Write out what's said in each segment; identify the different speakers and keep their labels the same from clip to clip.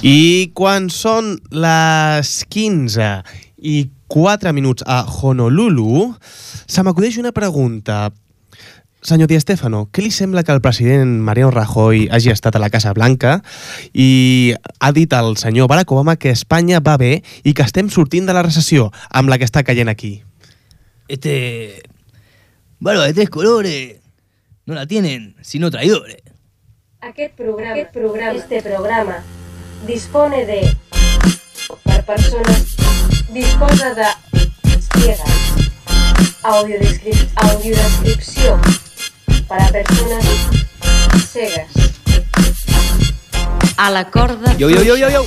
Speaker 1: I quan són les 15 i 4 minuts a Honolulu, se m'acudeix una pregunta. Senyor Di Stefano, què li sembla que el president Mariano Rajoy hagi estat a la Casa Blanca i ha dit al senyor Barack Obama que Espanya va bé i que estem sortint de la recessió amb la que està caient aquí?
Speaker 2: Este. Barba de tres colores. No la tienen, sino traidores.
Speaker 3: Aquest programa, aquest programa, este programa dispone de per persones disposa de ciegas audiodescrip, audiodescripció para persones cegas
Speaker 4: A la corda
Speaker 2: Yo, yo, yo, yo, yo.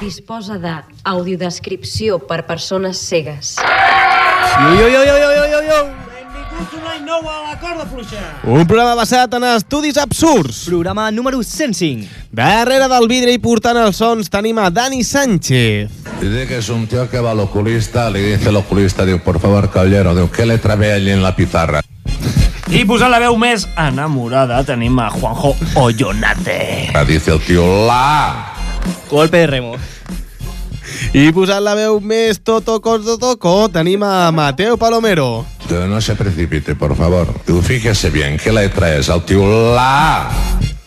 Speaker 4: disposa de audiodescripció per persones cegues.
Speaker 2: Yo, yo, yo, yo, yo, yo, yo, yo.
Speaker 5: Benvinguts un any nou a la corda fluixa.
Speaker 1: Un programa basat en estudis absurds.
Speaker 2: Programa número 105.
Speaker 1: Darrere del vidre i portant els sons tenim a Dani Sánchez.
Speaker 6: Dice que es un tío que va al oculista, le dice al oculista, digo, por favor, caballero, digo, ¿qué letra ve allí en la pizarra?
Speaker 7: I posant la veu més enamorada tenim a Juanjo Ollonate.
Speaker 6: Ah, Dice el tío, la.
Speaker 2: Golpe de remo.
Speaker 1: I posant la veu més totoco totoco tenim a Mateo Palomero.
Speaker 6: Digo, no se precipite, por favor. Digo, fíjese bien, ¿qué letra es? Al tío, la.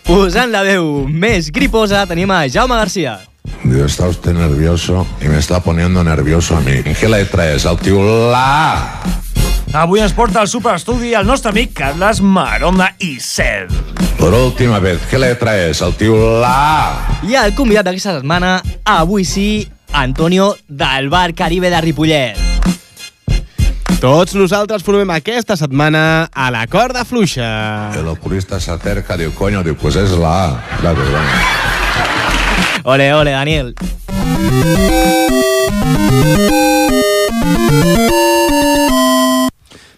Speaker 2: Posant la veu més griposa tenim a Jaume Garcia.
Speaker 6: Digo, está usted nervioso y me está poniendo nervioso a mí. ¿Qué letra es? Al tío, la.
Speaker 7: Avui ens porta al superestudi el nostre amic Carles Maronda i Cel.
Speaker 6: Por última vez, ¿qué letra es? Al tío, la.
Speaker 2: I el convidat d'aquesta setmana, avui sí, Antonio del Bar Caribe de Ripollet.
Speaker 1: Tots nosaltres formem aquesta setmana a la corda fluixa.
Speaker 6: El oculista se acerca, digo, coño, digo, pues es la A. Claro, bueno.
Speaker 2: Ole, ole, Daniel.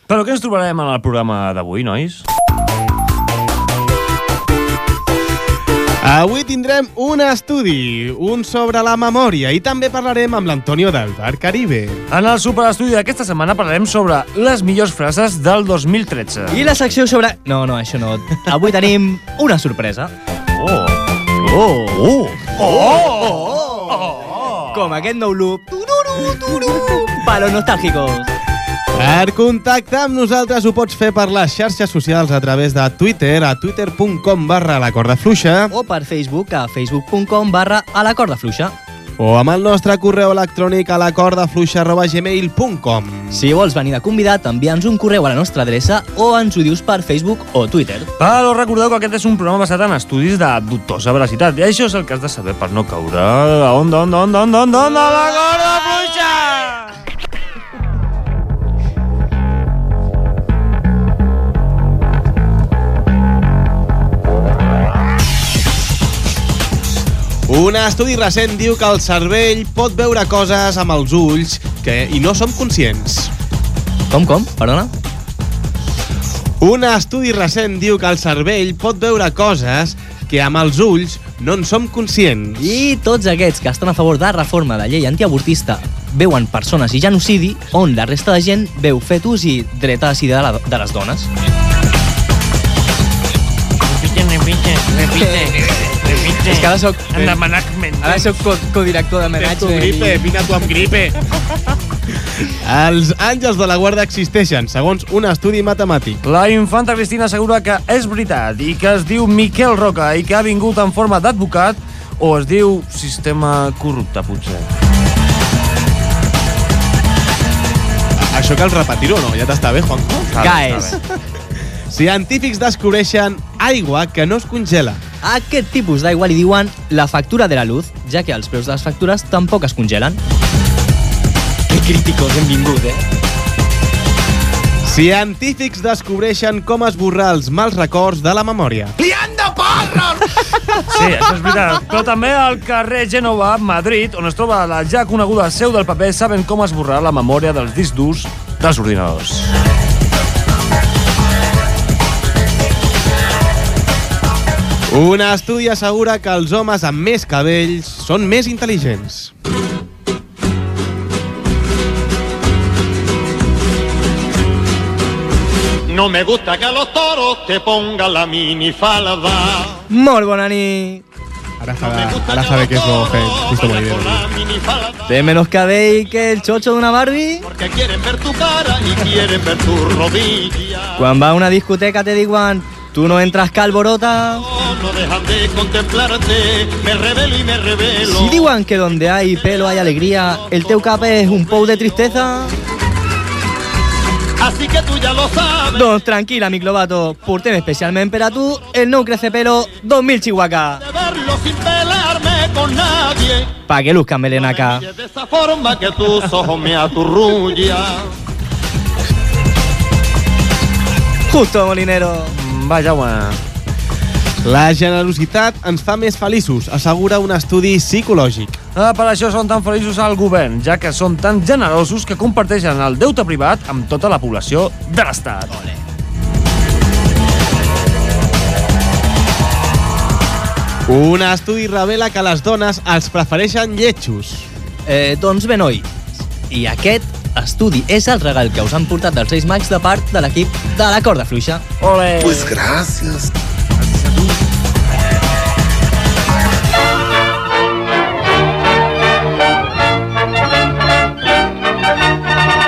Speaker 7: Però què ens trobarem en el programa d'avui, nois?
Speaker 1: Avui tindrem un estudi, un sobre la memòria, i també parlarem amb l'Antonio del Bar Caribe.
Speaker 7: En el superestudi d'aquesta setmana parlarem sobre les millors frases del 2013.
Speaker 2: I la secció sobre... No, no, això no. Avui tenim una sorpresa.
Speaker 7: Oh.
Speaker 2: Oh!
Speaker 7: Oh. Oh. Oh. oh.
Speaker 2: Com aquest nou loop. Tururu, tururu. Palos nostálgicos.
Speaker 1: Per contactar amb nosaltres ho pots fer per les xarxes socials a través de Twitter a twitter.com barra la corda fluixa
Speaker 2: O per Facebook a facebook.com barra a la corda fluixa.
Speaker 1: o amb el nostre correu electrònic a la corda fluixa arroba gmail.com.
Speaker 2: Si vols venir de convidat, envia'ns un correu a la nostra adreça o ens ho dius per Facebook o Twitter.
Speaker 7: Però recordeu que aquest és un programa basat en estudis de dubtosa veracitat. I això és el que has de saber per no caure. Onda, onda, onda, onda, onda, onda, la corda fluixa!
Speaker 1: Un estudi recent diu que el cervell pot veure coses amb els ulls que i no som conscients.
Speaker 2: Com, com? Perdona?
Speaker 1: Un estudi recent diu que el cervell pot veure coses que amb els ulls no en som conscients.
Speaker 2: I tots aquests que estan a favor de reforma de llei antiavortista veuen persones i genocidi on la resta de gent veu fetus i dreta a decidir de, la, de les dones.
Speaker 7: Repite, repite, repite, repite.
Speaker 2: És que ara sóc-
Speaker 7: En l'emanac
Speaker 2: Ara sóc co codirector de menatge.
Speaker 1: vine tu amb gripe. Els àngels de la guarda existeixen, segons un estudi matemàtic.
Speaker 7: La infanta Cristina assegura que és veritat i que es diu Miquel Roca i que ha vingut en forma d'advocat o es diu sistema corrupte, potser.
Speaker 1: Això cal repetir-ho, no? Ja t'està bé, Juanjo?
Speaker 2: Guys,
Speaker 1: Científics descobreixen aigua que no es congela.
Speaker 2: a aquest tipus d'aigua li diuen la factura de la luz, ja que els preus de les factures tampoc es congelen. Que críticos hem vingut, eh?
Speaker 1: Científics descobreixen com esborrar els mals records de la memòria.
Speaker 7: Sí, això és veritat. Però també al carrer Gènova, Madrid, on es troba la ja coneguda seu del paper, saben com esborrar la memòria dels discs durs dels ordinadors.
Speaker 1: Un estudi assegura que els homes amb més cabells són més intel·ligents.
Speaker 8: No me gusta que a los toros te pongan la minifalda.
Speaker 2: Molt bona nit.
Speaker 8: Ahora sabe, ahora sabe que es lo que justo muy bien.
Speaker 2: Té menos cabell que el xocho d'una Barbie.
Speaker 9: Porque quieren ver tu cara y quieren ver tu rodilla.
Speaker 2: Quan va a una discoteca te diuen tu no entras calborota.
Speaker 9: Oh, No dejan de contemplarte, me revelo y me revelo.
Speaker 2: Si diuen que donde hay pelo hay alegría, el teu cap és un pou de tristeza.
Speaker 9: Así que tú ya lo sabes.
Speaker 2: Doncs tranquil, amic Lobato, portem especialment per a tu el nou Crecepelo 2000 Chihuahua.
Speaker 9: De verlo sin pelarme con nadie.
Speaker 2: Pa que luzcan melenaca.
Speaker 9: Y es de esa forma que tus ojos me aturrullan.
Speaker 2: Justo, molinero.
Speaker 7: Mm, Va, Jaume.
Speaker 1: La generositat ens fa més feliços, assegura un estudi psicològic.
Speaker 7: Ah, per això són tan feliços al govern, ja que són tan generosos que comparteixen el deute privat amb tota la població de l'Estat.
Speaker 1: Un estudi revela que les dones els prefereixen lletjos.
Speaker 2: Eh, doncs bé, noi. I aquest estudi és el regal que us han portat dels Reis Mags de part de l'equip de la corda fluixa.
Speaker 7: Ole! Pues...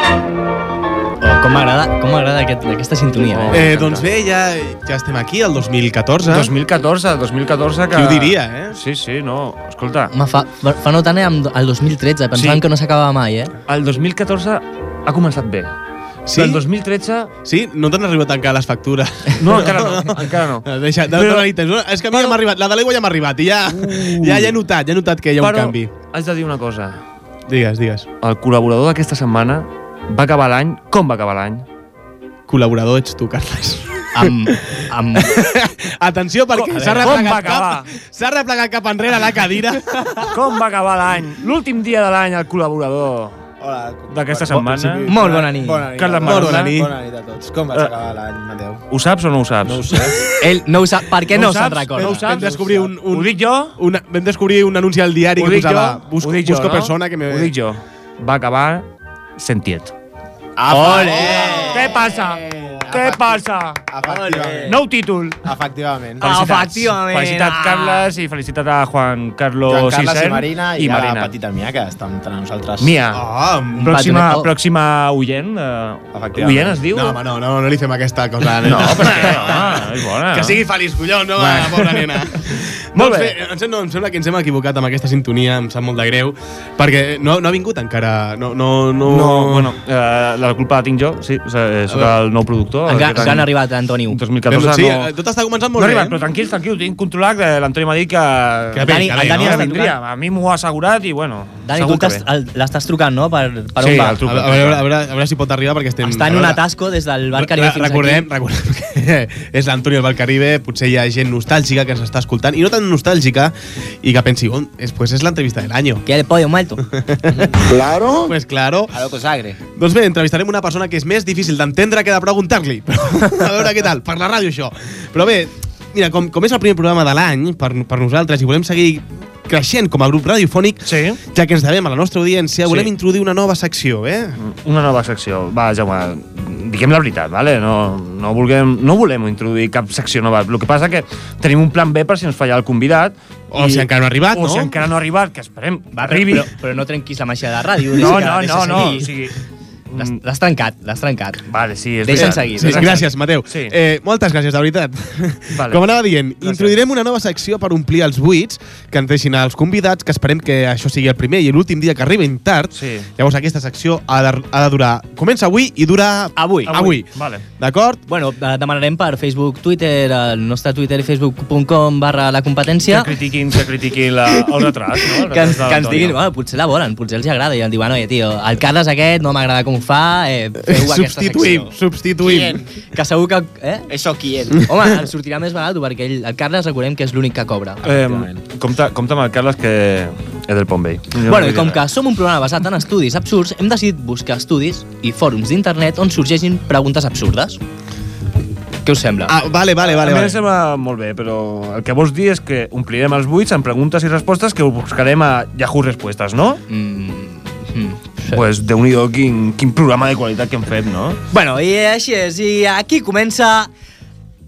Speaker 2: Oh, com m'agrada com m'agrada aquest, aquesta sintonia.
Speaker 7: Oh.
Speaker 2: Eh?
Speaker 1: Eh, doncs bé, ja, ja estem aquí, el 2014.
Speaker 7: 2014, 2014 que...
Speaker 1: Qui ho diria, eh?
Speaker 7: Sí, sí, no. Escolta,
Speaker 2: Home, fa, fa- fa no tant eh, amb el 2013, pensant
Speaker 7: Sí.
Speaker 2: que no s'acabava mai, eh?
Speaker 7: el 2014 ha començat bé.
Speaker 1: Sí?
Speaker 7: El 2013...
Speaker 1: Sí? No t'han arribat encara les factures.
Speaker 7: No, encara no, encara no.
Speaker 1: Deixa, de,
Speaker 7: Però- Uh.
Speaker 1: Però... És que a mi ja m'ha arribat, la de l'aigua ja m'ha arribat i ja, ja, ja he notat, ja he notat que hi ha un
Speaker 7: Però
Speaker 1: canvi.
Speaker 7: haig de dir una cosa.
Speaker 1: Digues, digues.
Speaker 7: El col·laborador d'aquesta setmana va acabar l'any com va acabar l'any.
Speaker 1: Col·laborador ets tu, Carles.
Speaker 2: Amb, amb...
Speaker 1: Atenció, perquè
Speaker 7: Com-
Speaker 1: s'ha
Speaker 7: com va
Speaker 1: replegat,
Speaker 7: acabar?
Speaker 1: cap, s'ha replegat cap enrere la cadira.
Speaker 7: Com va acabar l'any? L'últim dia de l'any, el col·laborador
Speaker 8: Hola.
Speaker 7: d'aquesta setmana.
Speaker 8: Sí.
Speaker 2: Molt bona nit.
Speaker 8: Bona nit.
Speaker 7: Carles
Speaker 8: Bona
Speaker 7: Marc, bona
Speaker 8: nit.
Speaker 7: nit.
Speaker 8: Bona nit a tots. Com vaig
Speaker 7: Eh.
Speaker 8: acabar l'any, Mateu?
Speaker 7: Ho saps o no ho saps? No ho sé.
Speaker 2: Ell no ho sap, perquè
Speaker 7: No
Speaker 2: no,
Speaker 7: ho
Speaker 2: no se'n
Speaker 7: saps?
Speaker 2: recorda.
Speaker 7: No ho
Speaker 1: Vam
Speaker 7: saps?
Speaker 1: descobrir un... un,
Speaker 7: Ho dic jo?
Speaker 1: Una, vam descobrir un anunci al
Speaker 7: Ho
Speaker 1: diari que
Speaker 7: dic jo?
Speaker 1: posava busco,
Speaker 7: Ho dic jo,
Speaker 1: busco
Speaker 7: no?
Speaker 1: persona que me...
Speaker 7: Ho dic jo. Va acabar sentiet.
Speaker 1: Ah,
Speaker 8: Ole!
Speaker 7: Què passa? Què passa?
Speaker 8: Efectivament.
Speaker 7: Nou títol.
Speaker 8: Efectivament.
Speaker 2: efectivament.
Speaker 7: Felicitat,
Speaker 2: Ah.
Speaker 7: Carles, i felicitat a Juan
Speaker 8: Joan
Speaker 7: Carlos
Speaker 8: Carles i
Speaker 7: Sisser.
Speaker 8: Marina i,
Speaker 7: I
Speaker 8: la
Speaker 7: Marina.
Speaker 8: petita Mia, que està entre nosaltres.
Speaker 7: Mia.
Speaker 2: Ah,
Speaker 1: Oh, no,
Speaker 7: Pròxima,
Speaker 2: Patonet.
Speaker 7: pròxima oient. Uh,
Speaker 8: Efectivament.
Speaker 7: oient es diu?
Speaker 1: home, eh, no, no, no li fem aquesta cosa.
Speaker 7: no, perquè, home, Ah, és bona.
Speaker 1: Que sigui feliç, collons, no, va, pobra nena.
Speaker 7: Molt
Speaker 1: Doncs
Speaker 7: bé.
Speaker 1: Em sembla, em sembla que ens hem equivocat amb aquesta sintonia, em sap molt de greu, perquè no, no ha vingut encara. No, no, no...
Speaker 7: No, bueno, eh, la culpa la tinc jo, sí, o sigui, soc el nou productor.
Speaker 2: Encara,
Speaker 7: aquest any,
Speaker 2: encara no ha arribat, eh, Antoniu.
Speaker 7: 2014
Speaker 1: sí, eh,
Speaker 7: no...
Speaker 1: tot està començant
Speaker 7: No
Speaker 1: molt
Speaker 7: ha
Speaker 1: bé.
Speaker 7: arribat, però tranquils, tranquils, ho tinc controlat, que l'Antoni m'ha dit que...
Speaker 1: Que bé,
Speaker 2: Dani-
Speaker 1: que
Speaker 2: el
Speaker 1: bé,
Speaker 2: Dani
Speaker 1: no?
Speaker 7: Ja
Speaker 2: està
Speaker 7: vindria, a mi m'ho ha assegurat i, bueno,
Speaker 2: Dani, tu
Speaker 7: segur que
Speaker 2: t'has-
Speaker 7: bé.
Speaker 2: el- l'estàs trucant, no? Per, per
Speaker 7: Sí,
Speaker 2: on va?
Speaker 7: el truco.
Speaker 1: A, a, veure, a, veure, a veure si pot arribar perquè estem...
Speaker 2: Està
Speaker 1: a
Speaker 2: en un
Speaker 1: veure,
Speaker 2: atasco des del Bar Caribe
Speaker 1: Re-
Speaker 2: fins
Speaker 1: recordem,
Speaker 2: aquí.
Speaker 1: recordem que és l'Antonio del Valcaribe, potser hi ha gent nostàlgica que ens està escoltant, i no tan nostàlgica, i que pensi, on, és, pues és l'entrevista de l'any.
Speaker 2: Que el pollo muerto.
Speaker 1: Oh. Pues claro.
Speaker 8: A lo que sagre.
Speaker 1: Doncs bé, entrevistarem una persona que és més difícil d'entendre que de preguntar-li. Però, a veure què tal, per la ràdio això. Però bé, mira, com, com és el primer programa de l'any per, per nosaltres i volem seguir creixent com a grup radiofònic,
Speaker 7: Sí.
Speaker 1: ja que ens devem a la nostra
Speaker 7: Sí.
Speaker 1: audiència,
Speaker 7: Mm,
Speaker 1: volem introduir una nova secció, eh?
Speaker 7: Una nova secció. Va, Jaume, diguem la veritat, vale? no, no, vulguem, no volem introduir cap secció nova. El que passa que tenim un plan B per si ens falla el convidat.
Speaker 1: O si encara no ha arribat,
Speaker 7: o O si
Speaker 1: no?
Speaker 7: encara no ha arribat, que esperem
Speaker 2: Va, però,
Speaker 7: arribi.
Speaker 2: però, però no trenquis la màgia de la ràdio. deixa
Speaker 7: no, no,
Speaker 2: que-
Speaker 7: no,
Speaker 2: deixa
Speaker 7: no.
Speaker 2: seguir.
Speaker 7: O sigui,
Speaker 2: L'has l'has trencat, l'has trencat.
Speaker 7: vale, sí, és
Speaker 2: Deixa'ns
Speaker 7: veritat.
Speaker 2: seguir,
Speaker 1: Sí,
Speaker 2: Exacte.
Speaker 1: gràcies, Mateu.
Speaker 7: Sí.
Speaker 1: Eh, moltes gràcies, de veritat.
Speaker 7: Vale.
Speaker 1: Com anava dient,
Speaker 7: Gràcies.
Speaker 1: introduirem una nova secció per omplir els buits que ens deixin els convidats, que esperem que això sigui el primer i l'últim dia que arribin tard.
Speaker 7: Sí.
Speaker 1: Llavors aquesta secció ha de, ha de durar... Comença avui i dura...
Speaker 2: Avui.
Speaker 1: Avui.
Speaker 7: Vale.
Speaker 1: D'acord?
Speaker 2: Bueno, eh, demanarem per Facebook, Twitter, el nostre Twitter i facebook.com barra la competència
Speaker 7: Que critiquin, que critiquin la, el retrat, no? El
Speaker 2: ah. que ens, que
Speaker 7: retrat de
Speaker 2: ens
Speaker 7: l'Antonio.
Speaker 2: diguin, bueno, potser la volen, potser els hi agrada i em diuen, oye, tio, el Carles aquest no m'agrada com ho fa, eh, feu aquesta
Speaker 1: substituïm,
Speaker 2: secció.
Speaker 1: substituïm.
Speaker 2: Que segur que... Eh?
Speaker 8: Eso quién.
Speaker 2: Home, ens sortirà més barat perquè ell, el Carles recordem que és l'únic que cobra.
Speaker 7: Eh, compta, compta amb el Carles que és del Pompei. Jo
Speaker 2: Bueno,
Speaker 7: no
Speaker 2: i
Speaker 7: diré
Speaker 2: com que
Speaker 7: res.
Speaker 2: som un programa basat en estudis absurds, hem decidit buscar estudis i fòrums d'internet on sorgeixin preguntes absurdes. Què us sembla?
Speaker 1: Ah, vale, vale, vale.
Speaker 7: a mi em
Speaker 1: vale.
Speaker 7: sembla molt bé, però el que vols dir és que omplirem els buits amb preguntes i respostes que ho buscarem a Yahoo Respostes, no?
Speaker 2: Mm, mm.
Speaker 7: Sí. Pues déu nhi quin, quin programa de qualitat que hem fet, no?
Speaker 2: Bueno, i així és. I aquí comença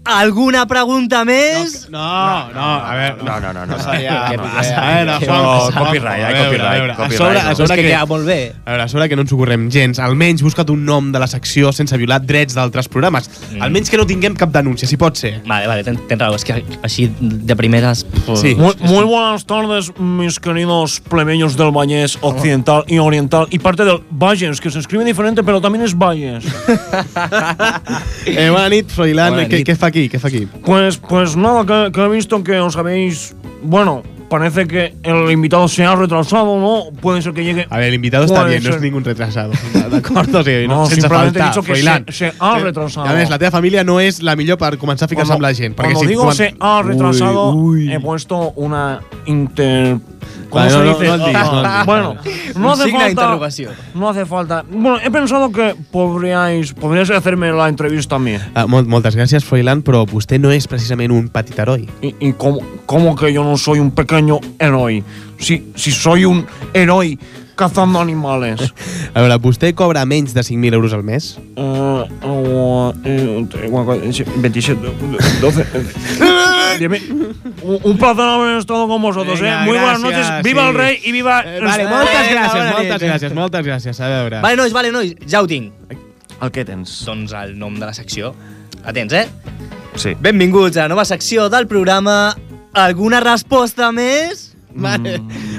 Speaker 2: Alguna pregunta més?
Speaker 1: No, no, a veure...
Speaker 7: No, no, no. no, no.
Speaker 8: seria-
Speaker 7: Què
Speaker 8: no,
Speaker 7: passa?
Speaker 1: A veure,
Speaker 2: Què
Speaker 1: Juan,
Speaker 7: passa?
Speaker 1: Juan,
Speaker 7: Copyright,
Speaker 1: a
Speaker 7: eh,
Speaker 1: veure,
Speaker 7: copyright,
Speaker 1: a veure.
Speaker 7: copyright,
Speaker 1: A sobre, a
Speaker 7: no.
Speaker 2: És
Speaker 1: sobre
Speaker 2: que
Speaker 1: que...
Speaker 2: queda molt bé.
Speaker 1: A veure, a sobre que no ens ho correm gens. Almenys busca't un nom de la secció sense violar drets d'altres programes. Almenys que no tinguem cap denúncia, si pot ser.
Speaker 2: Mm. Vale, vale, ten- tens raó. És que així, de primeres...
Speaker 1: Sí.
Speaker 7: Muy, muy buenas tardes, mis queridos plebeños del Vallés Occidental y Oriental y parte del Valles, que se escribe diferente, pero también es Valles.
Speaker 1: Eh, bona nit, Froilán.
Speaker 2: Bona
Speaker 1: Què,
Speaker 2: nit.
Speaker 1: què fa aquí? Què fa aquí?
Speaker 7: Pues, pues nada, que, que he visto que os habéis. Bueno, parece que el invitado se ha retrasado, ¿no? Puede ser que llegue.
Speaker 1: A ver, el invitado está
Speaker 7: Puede
Speaker 1: bien, no
Speaker 7: ser.
Speaker 1: es ningún retrasado. ¿De acuerdo? Sí, no,
Speaker 7: No,
Speaker 1: sense
Speaker 7: simplemente he
Speaker 1: faltar,
Speaker 7: dicho que
Speaker 1: Froilán.
Speaker 7: se- se ha retrasado.
Speaker 1: A més, la teva família no és la millor per començar a ficar-se amb la gent. perquè
Speaker 7: cuando
Speaker 1: si
Speaker 7: digo
Speaker 1: comen-
Speaker 7: se ha retrasado,
Speaker 1: Ui,
Speaker 7: he
Speaker 1: ui.
Speaker 7: puesto una inter. ¿Cómo
Speaker 1: Vale,
Speaker 7: se
Speaker 1: no, no,
Speaker 7: dice?
Speaker 1: no digas, no digas.
Speaker 7: bueno, no
Speaker 2: Un
Speaker 7: hace
Speaker 2: signo de
Speaker 7: falta.
Speaker 2: interrogación.
Speaker 7: No hace falta. Bueno, he pensado que podríais, podríais hacerme la entrevista a mí.
Speaker 1: Ah, molt, moltes gràcies, Froilán, però vostè no és precisament un petit heroi.
Speaker 7: ¿Y, y cómo, cómo que yo no soy un pequeño héroe? Si, si soy un héroe cazando animales.
Speaker 1: A veure, vostè cobra menys de 5.000 euros al mes?
Speaker 7: Eh, eh, eh, 27, 12. Dime. Un un placer haber estado con vosotros,
Speaker 1: Venga,
Speaker 7: ¿eh? Muy buenas
Speaker 1: gracias,
Speaker 7: noches. Viva
Speaker 1: sí.
Speaker 7: el rey y viva.
Speaker 1: Eh, vale,
Speaker 7: el-
Speaker 1: moltes
Speaker 2: Vinga,
Speaker 1: gràcies,
Speaker 2: bona nit.
Speaker 1: moltes gràcies, moltes gràcies. A veure...
Speaker 2: Vale, nois, vale, nois, ja ho tinc.
Speaker 7: El que tens.
Speaker 2: Doncs el nom de la secció. Atents, eh?
Speaker 7: Sí.
Speaker 2: Benvinguts a la nova secció del programa. Alguna resposta més?
Speaker 7: Mm,
Speaker 1: Vale,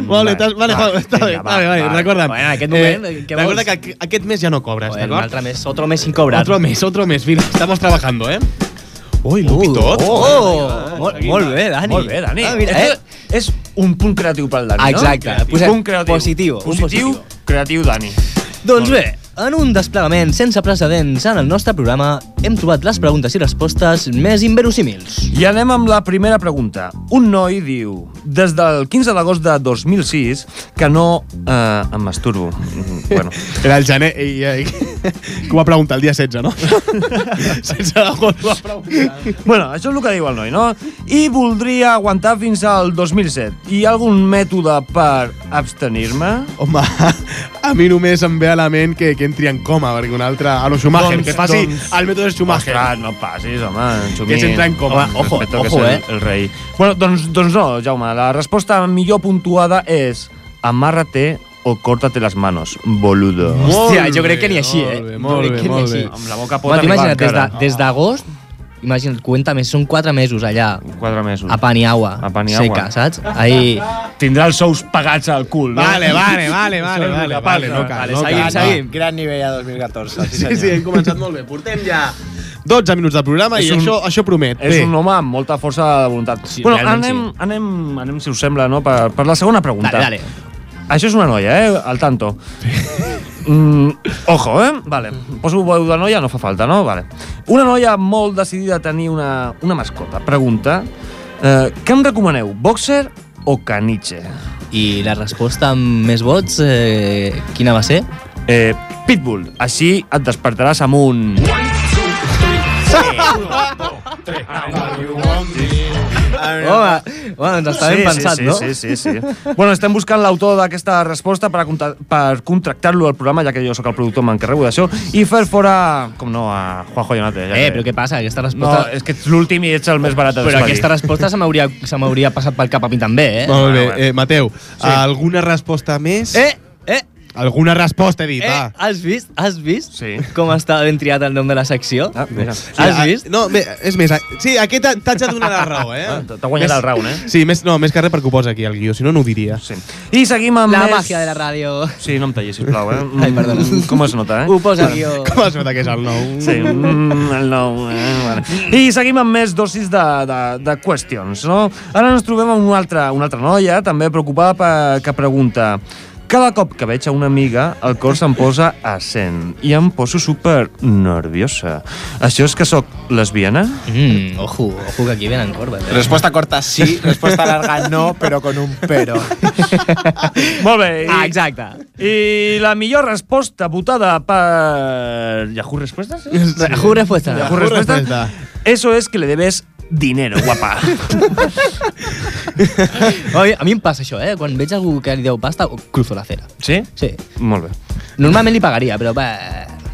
Speaker 1: vale, t'has- vale,
Speaker 7: va,
Speaker 1: vale, està bé,
Speaker 7: vinga, va,
Speaker 1: vale, vale,
Speaker 7: va.
Speaker 1: recorda'm.
Speaker 2: Bueno, en Ah, aquest moment,
Speaker 1: Eh,
Speaker 2: què
Speaker 1: recorda
Speaker 2: vols?
Speaker 1: que aqu- aquest mes ja no cobres,
Speaker 2: Joder, un
Speaker 1: d'acord?
Speaker 2: altre mes, otro mes sin cobrar.
Speaker 1: Otro mes, otro mes, mira, estamos trabajando, ¿eh? Uy, lo
Speaker 2: Oh, molt, molt bé, Dani.
Speaker 7: Molt bé, Dani.
Speaker 2: Ah, mira, eh?
Speaker 7: És un punt creatiu pel Dani, no?
Speaker 2: Exacte. Posem
Speaker 7: punt creatiu.
Speaker 2: positiu, un
Speaker 7: Positiu,
Speaker 2: positiu.
Speaker 7: creatiu, Dani.
Speaker 2: Doncs bé, en un desplegament sense precedents en el nostre programa hem trobat les preguntes i respostes més inverosímils.
Speaker 7: I anem amb la primera pregunta. Un noi diu, des del 15 d'agost de 2006, que no eh, em masturbo. Mm, Bueno,
Speaker 1: Era el gener i... i que ho va preguntar el dia 16, no? 16 d'agost ho va preguntar.
Speaker 7: bueno, això és el que diu el noi, no? I voldria aguantar fins al 2007. Hi ha algun mètode per abstenir-me?
Speaker 1: Home, a mi només em ve a la ment que, que entri en coma, perquè un altre... A lo Schumacher,
Speaker 7: Doncs-
Speaker 1: que faci
Speaker 7: doncs-
Speaker 1: el mètode Schumacher.
Speaker 7: Ostres, no passis, home. Xumí.
Speaker 1: Que s'entra en coma.
Speaker 7: Home, ojo,
Speaker 2: Respecte, que
Speaker 7: ojo,
Speaker 2: és
Speaker 7: eh?
Speaker 2: el-
Speaker 7: El rei. Bueno, doncs, doncs no, Jaume. La resposta millor puntuada és amárrate o córtate las manos, boludo.
Speaker 1: Molt
Speaker 2: Hòstia, jo crec
Speaker 1: bé,
Speaker 2: que ni així, eh?
Speaker 1: molt bé,
Speaker 2: Jo
Speaker 1: molt
Speaker 2: crec
Speaker 1: bé,
Speaker 2: que ni
Speaker 1: molt
Speaker 2: així.
Speaker 1: bé.
Speaker 7: Amb la boca pot
Speaker 2: Pot
Speaker 7: arribar
Speaker 2: imagina't, des
Speaker 7: encara.
Speaker 2: de- des d'agost, imagina't, cuenta més, són quatre mesos allà,
Speaker 7: Quatre
Speaker 1: Mm.
Speaker 7: mesos.
Speaker 2: a pan i agua,
Speaker 7: A pan i
Speaker 2: seca,
Speaker 7: agua.
Speaker 2: saps? Ahí...
Speaker 7: Tindrà els sous pagats al cul, no?
Speaker 1: Vale, vale, vale,
Speaker 7: Això és
Speaker 1: vale,
Speaker 7: el que
Speaker 1: vale,
Speaker 7: passa.
Speaker 1: vale, no cal,
Speaker 2: Vale,
Speaker 1: no
Speaker 2: seguim,
Speaker 1: cal.
Speaker 2: seguim.
Speaker 8: Gran nivell a 2014. Sí,
Speaker 1: Sí, sí, hem començat molt bé. Portem ja 12 minuts de programa i
Speaker 7: És un-
Speaker 1: això, això promet.
Speaker 7: És
Speaker 1: Bé.
Speaker 7: un home amb molta força de voluntat.
Speaker 2: Sí,
Speaker 7: bueno,
Speaker 2: realment
Speaker 7: anem, anem, anem, si us sembla, no? per, per la segona pregunta.
Speaker 2: Dale, dale.
Speaker 7: Això és una noia, eh? Al tanto. Mm, ojo, eh? Vale. Poso veu de noia, no fa falta, no? Vale. Una noia molt decidida a tenir una, una mascota. Pregunta, eh, què em recomaneu, boxer o caniche?
Speaker 2: I la resposta amb més vots, eh, quina va ser?
Speaker 7: Eh, pitbull, així et despertaràs amb un...
Speaker 2: Home, bueno, ens està ben pensat,
Speaker 7: sí,
Speaker 2: no?
Speaker 7: Sí, sí, sí. sí. bueno, estem buscant l'autor d'aquesta resposta per, a conta- per contractar-lo al programa, ja que jo sóc el productor, m'encarrego d'això, i fer fora, com no, a Juanjo Ionate. Ja
Speaker 2: Eh,
Speaker 7: que-
Speaker 2: però què passa? Aquesta
Speaker 7: No, eh,
Speaker 2: resposta...
Speaker 7: és que ets l'últim i ets el més barat de
Speaker 2: Però
Speaker 7: despedir.
Speaker 2: aquesta resposta se m'hauria se m'hauria passat pel cap a mi també, eh?
Speaker 1: Molt bé,
Speaker 7: Ah, bueno.
Speaker 1: eh, Mateu, alguna resposta més?
Speaker 2: Eh, eh,
Speaker 1: Alguna resposta, he dit,
Speaker 2: eh,
Speaker 1: va.
Speaker 2: has vist? Has vist?
Speaker 7: Sí.
Speaker 2: Com està ben triat el nom de la secció?
Speaker 7: Ah, mira.
Speaker 2: Has
Speaker 1: Ah,
Speaker 2: vist?
Speaker 1: No, bé, és més, ah, sí, aquest t'ha- t'haig de donar la raó, eh?
Speaker 7: Ah, T'ha guanyat
Speaker 1: Més-
Speaker 7: el round, eh?
Speaker 1: Sí, més, no, més que res perquè ho posa aquí, el guió, si no, no ho diria.
Speaker 7: Sí. I seguim amb
Speaker 2: La
Speaker 7: més...
Speaker 2: màgia de la ràdio.
Speaker 7: Sí, no em tallis, sisplau, eh?
Speaker 2: Ai, perdona.
Speaker 7: Mm, Com es nota, eh?
Speaker 2: Ho posa guió.
Speaker 1: Com es nota que és el nou?
Speaker 7: Sí, mm, el nou, eh? Vale. I seguim amb més dosis de, de, de qüestions, no? Ara ens trobem amb una altra, una altra noia, també preocupada, per, que pregunta... Cada cop que veig a una amiga, el cor se'm posa a 100 i em poso super nerviosa. Això és que sóc lesbiana?
Speaker 2: Mm, ojo, ojo que aquí venen corbes. Eh?
Speaker 8: Respuesta corta sí, respuesta larga no, pero con un pero.
Speaker 7: Molt bé. I,
Speaker 2: Ah, exacte.
Speaker 7: I la millor resposta votada per Yahoo Respuestas? eh?
Speaker 2: Ojo, resposta.
Speaker 7: Yahoo Respuesta. Eso es que le debes dinero, guapa.
Speaker 2: Oi, a mi em passa això, eh? Quan veig algú que li deu pasta, cruzo la cera.
Speaker 7: ¿Sí?
Speaker 2: Sí.
Speaker 7: Molt bé.
Speaker 2: Normalment li pagaria, però... Bah,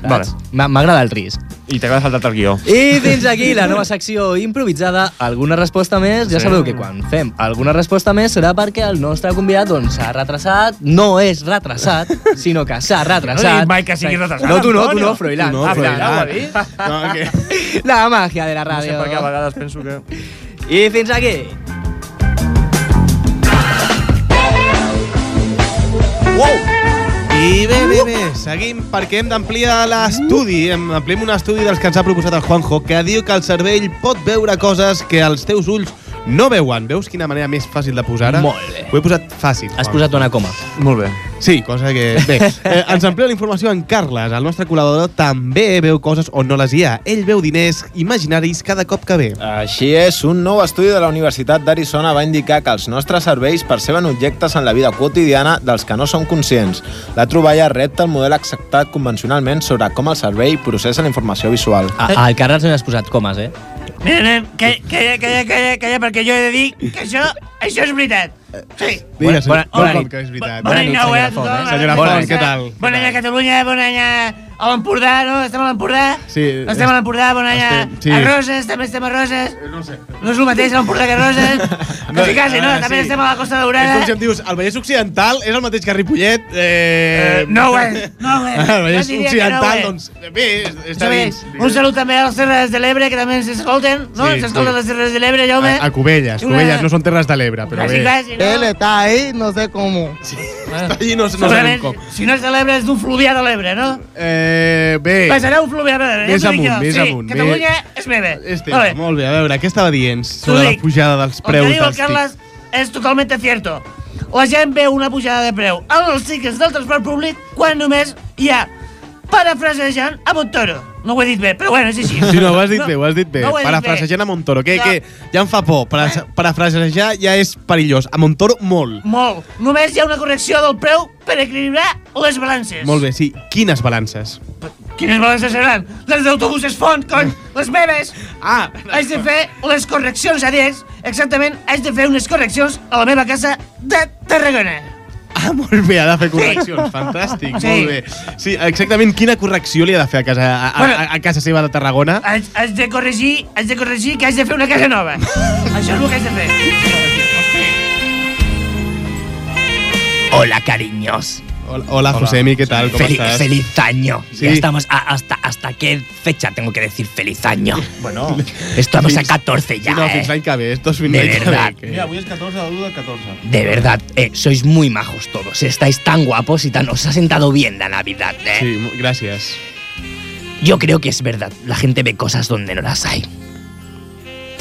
Speaker 7: Vale.
Speaker 2: M'agrada el risc.
Speaker 7: I t'acabes saltat el guió.
Speaker 2: I fins aquí la nova secció improvisada. Alguna resposta més, ja
Speaker 7: Sí.
Speaker 2: sabeu que quan fem alguna resposta més serà perquè el nostre convidat doncs s'ha retrasat, no és retrasat, sinó que s'ha
Speaker 7: No
Speaker 2: retrasat.
Speaker 7: dic mai que sigui retrasat,
Speaker 2: No, tu no, tu
Speaker 7: Antonio.
Speaker 2: no, Froilán.
Speaker 1: Tu no,
Speaker 2: Ah,
Speaker 1: Froilán.
Speaker 2: Froilán.
Speaker 7: ho ha dit?
Speaker 1: No, que...
Speaker 2: La màgia de la
Speaker 7: No sé
Speaker 2: ràdio.
Speaker 7: per què a vegades penso que...
Speaker 2: I fins aquí.
Speaker 1: I bé, bé, bé, seguim perquè hem d'ampliar l'estudi. Hem- Ampliem un estudi dels que ens ha proposat el Juanjo, que diu que el cervell pot veure coses que els teus ulls no veuen. Veus quina manera més fàcil de posar? ara?
Speaker 2: Molt bé.
Speaker 1: Ho he posat fàcil.
Speaker 2: Has
Speaker 1: Juanjo.
Speaker 2: posat una coma.
Speaker 7: Molt bé.
Speaker 1: Sí, cosa que... Bé, eh, ens amplia la informació en Carles. El nostre col·laborador també veu coses on no les hi ha. Ell veu diners imaginaris cada cop que ve.
Speaker 8: Així és, un nou estudi de la Universitat d'Arizona va indicar que els nostres cervells perceben objectes en la vida quotidiana dels que no som conscients. La troballa repta el model acceptat convencionalment sobre com el cervell processa la informació visual.
Speaker 1: Eh,
Speaker 2: A- Al Carles no hi has posat comes, eh?
Speaker 5: Mira, nen, calla, calla, calla, calla, calla, perquè jo he de dir que això, això és veritat. Sí.
Speaker 1: Digues,
Speaker 2: bona-
Speaker 1: un
Speaker 2: bona
Speaker 1: cop
Speaker 2: nit.
Speaker 1: que és veritat.
Speaker 5: Bon
Speaker 2: Bona
Speaker 5: any,
Speaker 2: nit,
Speaker 5: nou, eh?
Speaker 2: senyora Font, eh?
Speaker 1: Senyora
Speaker 5: Bon
Speaker 1: Font,
Speaker 5: any.
Speaker 1: què tal?
Speaker 5: Bon any a Catalunya, bon any a a l'Empordà, no? Estem a l'Empordà?
Speaker 1: Sí,
Speaker 5: Estem a l'Empordà, bon any a,
Speaker 1: estem- sí.
Speaker 5: a Roses, també estem a Roses. No sé. No és el mateix a l'Empordà que a Roses. Quasi, quasi, no?
Speaker 1: ah,
Speaker 5: També
Speaker 1: sí.
Speaker 5: estem a la Costa
Speaker 1: És com si
Speaker 5: Daurada.
Speaker 1: em dius, el Vallès Occidental és el mateix que Ripollet... Eh...
Speaker 5: Eh, no ho és, no ho és.
Speaker 1: El Vallès
Speaker 5: Jo diria que no ho
Speaker 1: Occidental,
Speaker 5: és.
Speaker 1: doncs, bé, està
Speaker 5: Això bé.
Speaker 1: dins.
Speaker 5: Un salut també a les Serres de l'Ebre, que també ens escolten, no?
Speaker 1: Sí,
Speaker 5: ens escolten
Speaker 1: sí.
Speaker 5: les Serres de l'Ebre, ja, home.
Speaker 1: A, a Cubelles.
Speaker 5: Una-
Speaker 1: Cubelles no són terres de l'Ebre, però
Speaker 5: Quasi,
Speaker 1: bé.
Speaker 5: quasi, no?
Speaker 8: está ahí, no sé cómo.
Speaker 1: Allí no, no sabem
Speaker 5: Segurament,
Speaker 1: com.
Speaker 5: si no és de l'Ebre, és d'un fluvià de l'Ebre, no?
Speaker 1: Eh, bé.
Speaker 5: Passarà un fluvià de l'Ebre, ja
Speaker 1: Més
Speaker 5: t'ho dic
Speaker 1: amunt,
Speaker 5: jo.
Speaker 1: més
Speaker 5: sí,
Speaker 1: amunt,
Speaker 5: Catalunya
Speaker 1: més-
Speaker 5: és meva.
Speaker 1: Este,
Speaker 5: Molt bé.
Speaker 1: molt bé, a veure, què estava dient sobre la
Speaker 5: dic.
Speaker 1: pujada dels
Speaker 5: El
Speaker 1: preus
Speaker 5: que diu el
Speaker 1: dels
Speaker 5: Carles és totalment cierto. La gent veu una pujada de preu en els tickets del transport públic quan només hi ha parafrasejant a Montoro. No ho he dit bé, però bueno, és així.
Speaker 1: Sí, no, ho has dit bé, ho has dit bé.
Speaker 5: No ho he dit
Speaker 1: Parafrasejant a Montoro, que,
Speaker 5: No. Eh?
Speaker 1: que ja em fa por. Para- Parafrasejar ja és perillós. A Montoro, molt.
Speaker 5: Molt. Només hi ha una correcció del preu per equilibrar les balances.
Speaker 1: Molt bé, sí. Quines balances?
Speaker 5: Quines balances seran? Les d'autobuses font, cony! Les meves!
Speaker 1: Ah,
Speaker 5: Haig de fer les correccions adients. Exactament, haig de fer unes correccions a la meva casa de Tarragona.
Speaker 1: ah, molt bé, ha de fer correccions. Fantàstic,
Speaker 5: Sí.
Speaker 1: molt bé. Sí, exactament quina correcció li ha de fer a casa, a,
Speaker 5: Bueno.
Speaker 1: a, a casa seva de Tarragona?
Speaker 5: Haig, haig de corregir, haig de corregir que haig de fer una casa nova. Això és el que haig de fer.
Speaker 10: Hola, cariños.
Speaker 1: Hola, hola, Josemi, què tal? Com
Speaker 10: Feliz,
Speaker 1: estàs?
Speaker 10: feliz año.
Speaker 1: Sí.
Speaker 10: Ya estamos a- hasta, hasta qué fecha tengo que decir feliz año. Bueno, estamos a
Speaker 1: Fins-
Speaker 10: 14 ya.
Speaker 1: Sí, no,
Speaker 10: ¿eh?
Speaker 1: fins l'any que ve, és 2020.
Speaker 10: De
Speaker 1: que ve,
Speaker 10: verdad.
Speaker 1: que-
Speaker 9: avui és 14 de 1 del 14.
Speaker 10: De verdad, eh, sois muy majos todos. Estáis tan guapos y tan os ha sentado bien la Navidad. ¿eh?
Speaker 1: Sí, mo- gràcies.
Speaker 10: Yo creo que es verdad. La gente ve cosas donde no las hay.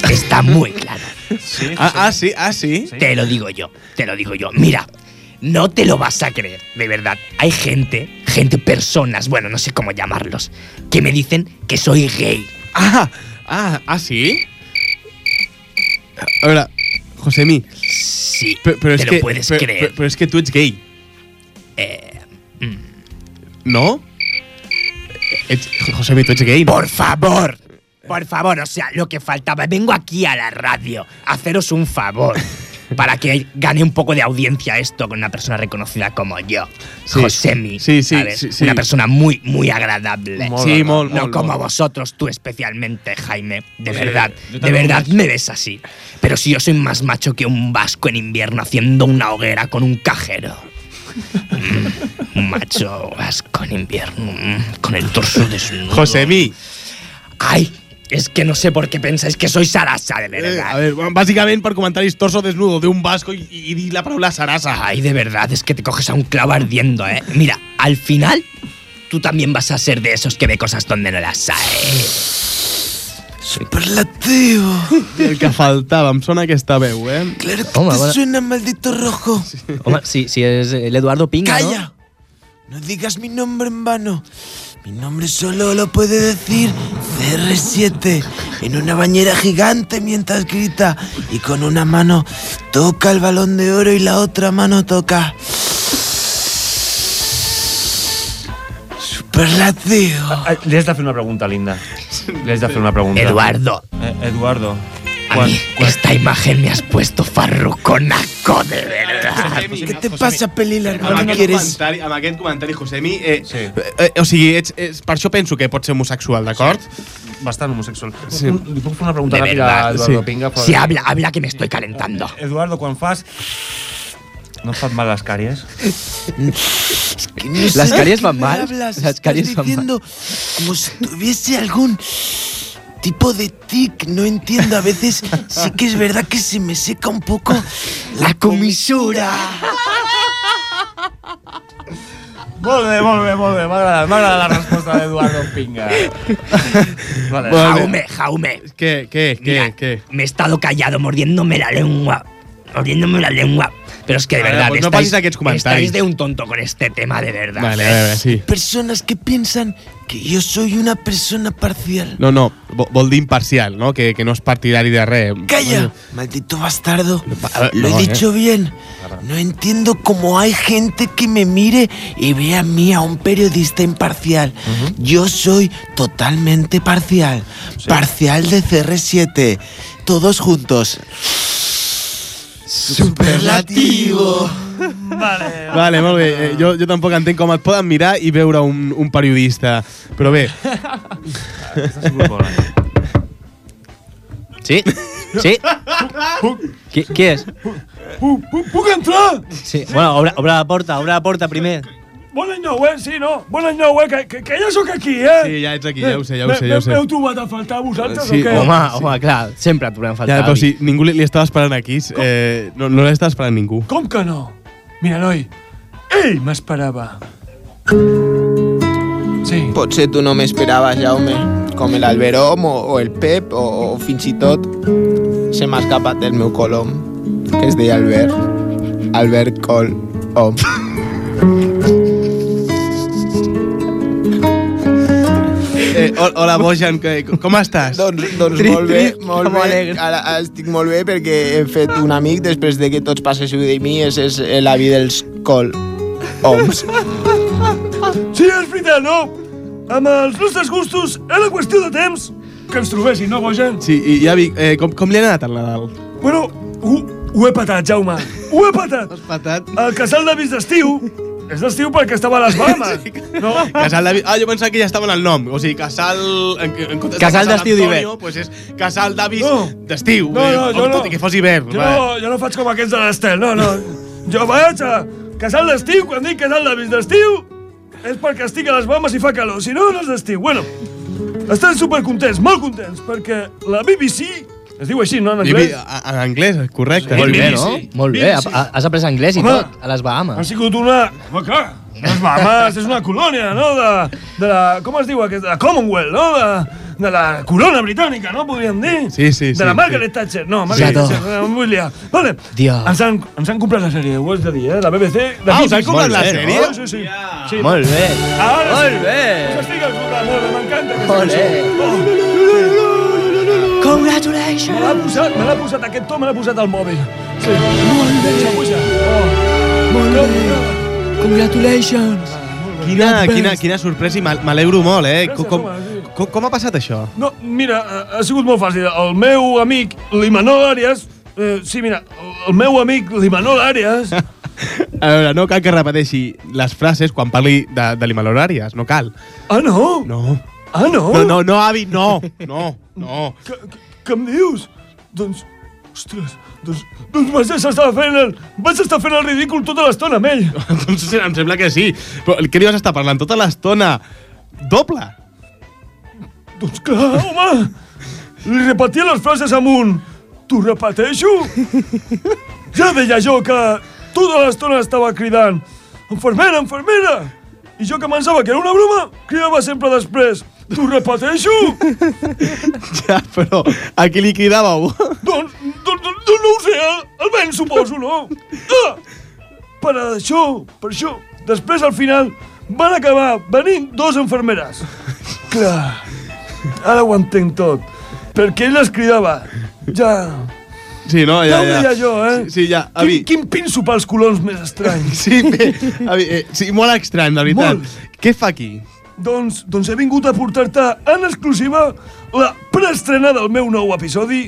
Speaker 10: Está muy claro.
Speaker 1: Ah, ah, sí, ah, sí.
Speaker 10: Te lo digo yo, te lo digo yo. Mira, no te lo vas a creer, de verdad. Hay gente, gente, personas, bueno, no sé cómo llamarlos, que me dicen que soy gay.
Speaker 1: Ah, ah, ah, sí? A veure, Josemi,
Speaker 10: Sí,
Speaker 1: però, però és
Speaker 10: te lo
Speaker 1: que...
Speaker 10: puedes
Speaker 1: però,
Speaker 10: creer.
Speaker 1: Però, però és que tu ets gay,
Speaker 10: Eh, mm.
Speaker 1: no? Ets, Josemi, tu ets gay, no?
Speaker 10: por favor, por favor, o sea, lo que faltaba. Vengo aquí a la radio a haceros un favor. Para que gane un poco de audiencia esto con una persona reconocida como yo,
Speaker 1: Sí.
Speaker 10: Josemi.
Speaker 1: Sí, sí,
Speaker 10: ¿sabes?
Speaker 1: sí, sí.
Speaker 10: Una persona muy, muy agradable.
Speaker 1: Sí, molt,
Speaker 10: No
Speaker 1: molt,
Speaker 10: como
Speaker 1: molt.
Speaker 10: vosotros, tú especialmente, Jaime. De
Speaker 9: Oye,
Speaker 10: verdad,
Speaker 9: yo
Speaker 10: de
Speaker 9: tampoco
Speaker 10: verdad
Speaker 9: más.
Speaker 10: me ves así. Pero si yo soy más macho que un vasco en invierno haciendo una hoguera con un cajero. Mm, un macho vasco en invierno, mm, con el torso desnudo.
Speaker 1: Josemi,
Speaker 10: Ay, es que no sé por qué pensáis que soy Sarasa, de
Speaker 1: eh, a
Speaker 10: verdad.
Speaker 1: veure, bueno, bàsicament per comentaris torso desnudo d'un vasco i, i dir la paraula sarasa.
Speaker 10: Ay, de verdad, es que te coges a un clavo ardiendo, ¿eh? Mira, al final, tú también vas a ser de esos que ve cosas donde no las hay.
Speaker 9: Soy parlativo.
Speaker 1: El que faltava, em sona aquesta veu, eh?
Speaker 9: Claro que
Speaker 2: Toma,
Speaker 9: te
Speaker 2: bona-
Speaker 9: suena, maldito rojo.
Speaker 2: Home, si, si és eh, l'Eduardo Pinga, no?
Speaker 9: ¡Calla! No digas mi nombre en vano. Mi nombre solo lo puede decir CR7 en una bañera gigante mientras grita y con una mano toca el balón de oro y la otra mano toca. Superlativo.
Speaker 7: Ah, Li has de fer una pregunta, Linda. Li has de fer una pregunta.
Speaker 10: Eduardo,
Speaker 7: Eh, Eduardo.
Speaker 10: a mí esta imagen me has puesto farruconaco, de verdad.
Speaker 9: Què te passa, Pelila?
Speaker 1: Amb
Speaker 9: No
Speaker 1: aquest,
Speaker 9: quieres...
Speaker 1: comentari, amb aquest comentari, Josemi, eh, sí. eh, o sigui, ets, ets, per això penso que pots ser homosexual, d'acord?
Speaker 11: Bastant homosexual.
Speaker 1: Sí.
Speaker 11: Un- Li puc fer una pregunta
Speaker 1: De
Speaker 11: ràpida
Speaker 1: verdad,
Speaker 11: a Eduardo
Speaker 1: sí.
Speaker 11: Pinga?
Speaker 1: Sí, habla,
Speaker 10: habla, que me estoy calentando.
Speaker 11: Eduardo, quan fas... No et fan mal les càries?
Speaker 9: No
Speaker 11: Las
Speaker 9: sé
Speaker 11: caries
Speaker 9: de
Speaker 11: van
Speaker 9: qué
Speaker 11: mal.
Speaker 9: hablas,
Speaker 11: Las caries
Speaker 9: estás
Speaker 11: van mal.
Speaker 9: diciendo Como si tuviese algún tipo de tic, no entiendo. A veces sí que es verdad que se me seca un poco la comisura.
Speaker 11: Molt bé, molt bé, molt bé. M'ha agradat, m'ha agradat la resposta d'Eduardo Pinga. Vale.
Speaker 10: Jaume, Jaume.
Speaker 1: ¿Qué, qué,
Speaker 10: qué, qué? Me he estado callado mordiéndome la lengua. Mordiéndome la lengua. Pero es que de
Speaker 1: Vale,
Speaker 10: verdad.
Speaker 1: pues no
Speaker 10: estáis,
Speaker 1: paséis aquí los comentarios.
Speaker 10: estáis de un tonto con este tema, de verdad.
Speaker 1: Vale, vale, vale, sí.
Speaker 9: Personas que piensan que yo soy una persona parcial.
Speaker 1: No, no, vo- vol dir imparcial, no? Que, que no és partidari de res.
Speaker 9: Calla, maldito bastardo.
Speaker 1: a ver,
Speaker 9: Lo
Speaker 1: no,
Speaker 9: he dicho
Speaker 1: eh.
Speaker 9: bien. No entiendo cómo hay gente que me mire y ve a mí a un periodista imparcial. Yo soy totalmente parcial. Parcial de CR7. Todos juntos. Superlativo.
Speaker 12: Vale.
Speaker 1: Vale, molt bé. Eh, jo, jo tampoc entenc com et poden mirar i veure un, un periodista. Però bé.
Speaker 2: Sí? Sí? Qui, qui és?
Speaker 11: Puc, puc, puc entrar?
Speaker 2: Sí. Bueno, obre, obre la porta, obre la porta primer.
Speaker 11: Bon any nou, eh? Sí, no? Bon any nou, eh? Que, que, que ja sóc aquí, eh?
Speaker 1: Sí, ja ets aquí, ja ho sé, ja ho
Speaker 11: Eh,
Speaker 1: sé,
Speaker 11: m'he-
Speaker 1: ja ho sé.
Speaker 11: M'heu trobat a faltar vosaltres
Speaker 1: Sí, pues
Speaker 11: o què?
Speaker 1: home,
Speaker 2: Ah, home, clar, sempre et trobem a faltar.
Speaker 1: Ja, però
Speaker 2: David.
Speaker 1: si ningú li, li estava esperant aquí, eh, no, no l'estava esperant ningú.
Speaker 11: Com que no? Mira, noi, ell m'esperava. Sí.
Speaker 8: Potser tu no m'esperaves, Jaume, com el Alberom o, o el Pep o, o fins i tot se m'ha escapat del meu colom, que es deia Albert. Albert Col. Om.
Speaker 1: Eh, ho- hola, Bojan, que- com estàs?
Speaker 8: Doncs, doncs molt bé, molt bé. Ara, ara estic molt bé perquè he fet un amic després de que tots passéssiu de mi, és, és l'avi dels Col. Oms.
Speaker 11: Sí, és veritat, no? Amb els nostres gustos era qüestió de temps que ens trobessin, no, Bojan?
Speaker 1: Sí, i ja Vic, eh, com, com li ha anat el Nadal?
Speaker 11: Bueno, ho, ho he patat, Jaume. Ho he patat. Has
Speaker 1: patat?
Speaker 11: El casal d'avis d'estiu és d'estiu perquè estava a les Bahamas. No?
Speaker 1: Casal David... Ah, jo pensava que ja estava en el nom. O sigui, Casal... En, en comptes de
Speaker 11: Casal d'estiu
Speaker 1: Antonio,
Speaker 11: d'hivern.
Speaker 1: Pues és Casal Davis d'estiu.
Speaker 11: No, no,
Speaker 1: Eh,
Speaker 11: jo no.
Speaker 1: Tot i que fos hivern.
Speaker 11: Jo,
Speaker 1: va.
Speaker 11: no- jo no faig com aquests de l'Estel, no, no. Jo vaig a casal d'estiu, quan dic casal d'avis d'estiu, és perquè estic a les Bahamas i fa calor, si no, no és d'estiu. Bueno, estan supercontents, molt contents, perquè la BBC, es diu així, no, en
Speaker 1: Vivi-
Speaker 11: anglès?
Speaker 1: a- En anglès, correcte.
Speaker 11: Sí, Molt bé, BBC. no?
Speaker 2: Molt bé,
Speaker 11: BBC.
Speaker 2: ha- has après anglès i
Speaker 11: Home.
Speaker 2: tot, a les
Speaker 11: Ha
Speaker 2: Bahamas.
Speaker 11: sigut una... Home, clar, les Bahamas és una colònia, no? De, de la... Com es diu aquest? De la Commonwealth, no? De, de la corona britànica, no? Podríem dir.
Speaker 1: Sí, sí, sí,
Speaker 11: De la
Speaker 1: sí.
Speaker 11: Margaret Thatcher. No, Margaret
Speaker 1: Exacte.
Speaker 11: Thatcher. No, em vull liar. Vale.
Speaker 1: Dios.
Speaker 11: Ens han, ens han comprat la sèrie, ho has de dir, eh? La BBC... De
Speaker 1: Ah, us
Speaker 11: Disney.
Speaker 1: han comprat la
Speaker 11: Molt bé,
Speaker 1: sèrie?
Speaker 11: No? Sí, sí. sí.
Speaker 2: Molt bé.
Speaker 11: Ara
Speaker 2: Molt
Speaker 11: sí.
Speaker 2: bé.
Speaker 11: Us estic escoltant, molt bé, m'encanta aquesta
Speaker 2: Olé.
Speaker 11: cançó. Oh.
Speaker 2: Congratulations.
Speaker 11: Me l'ha posat, me l'ha posat, aquest to me l'ha posat al mòbil. Sí. Molt bé. Oh. Molt bé. Congratulations.
Speaker 1: Quina, quina, quina sorpresa i m'al- m'alegro molt, eh? Com, com, com, com ha passat això?
Speaker 11: No, mira, eh, ha sigut molt fàcil. El meu amic Limanol Arias... Eh, sí, mira, el meu amic Limanol Arias...
Speaker 1: A veure, no cal que repeteixi les frases quan parli de, de l'Himaloràries, no cal.
Speaker 11: Ah, no?
Speaker 1: No.
Speaker 11: Ah, no?
Speaker 1: No, no, no, avi, no, no, no.
Speaker 11: Que, que, que em dius? Doncs... Ostres, doncs, doncs vaig estar fent el, vaig estar fent el ridícul tota l'estona amb ell.
Speaker 1: doncs sí, em sembla que sí. Però el que li vas estar parlant tota l'estona? Doble.
Speaker 11: Doncs clar, home! Li repetia les frases amb un... T'ho repeteixo? Ja deia jo que tota l'estona estava cridant Enfermera, enfermera! I jo que pensava que era una broma, cridava sempre després T'ho repeteixo?
Speaker 1: Ja, però a qui li cridàveu?
Speaker 11: doncs, doncs, doncs, doncs no ho sé, el, el vent suposo, no? Ah! Per això, per això, després al final van acabar venint dos enfermeres. Clar, ara ho entenc tot. Perquè ell les cridava. Ja,
Speaker 1: Sí, no?
Speaker 11: ja, ja ho deia jo, eh?
Speaker 1: Sí, sí, ja, avi.
Speaker 11: Quin, quin pinso pels colons més estrany.
Speaker 1: Sí, bé, avi, eh, sí, molt estrany, de veritat. Molt. Què fa aquí?
Speaker 11: Doncs, doncs he vingut a portar-te en exclusiva la preestrena del meu nou episodi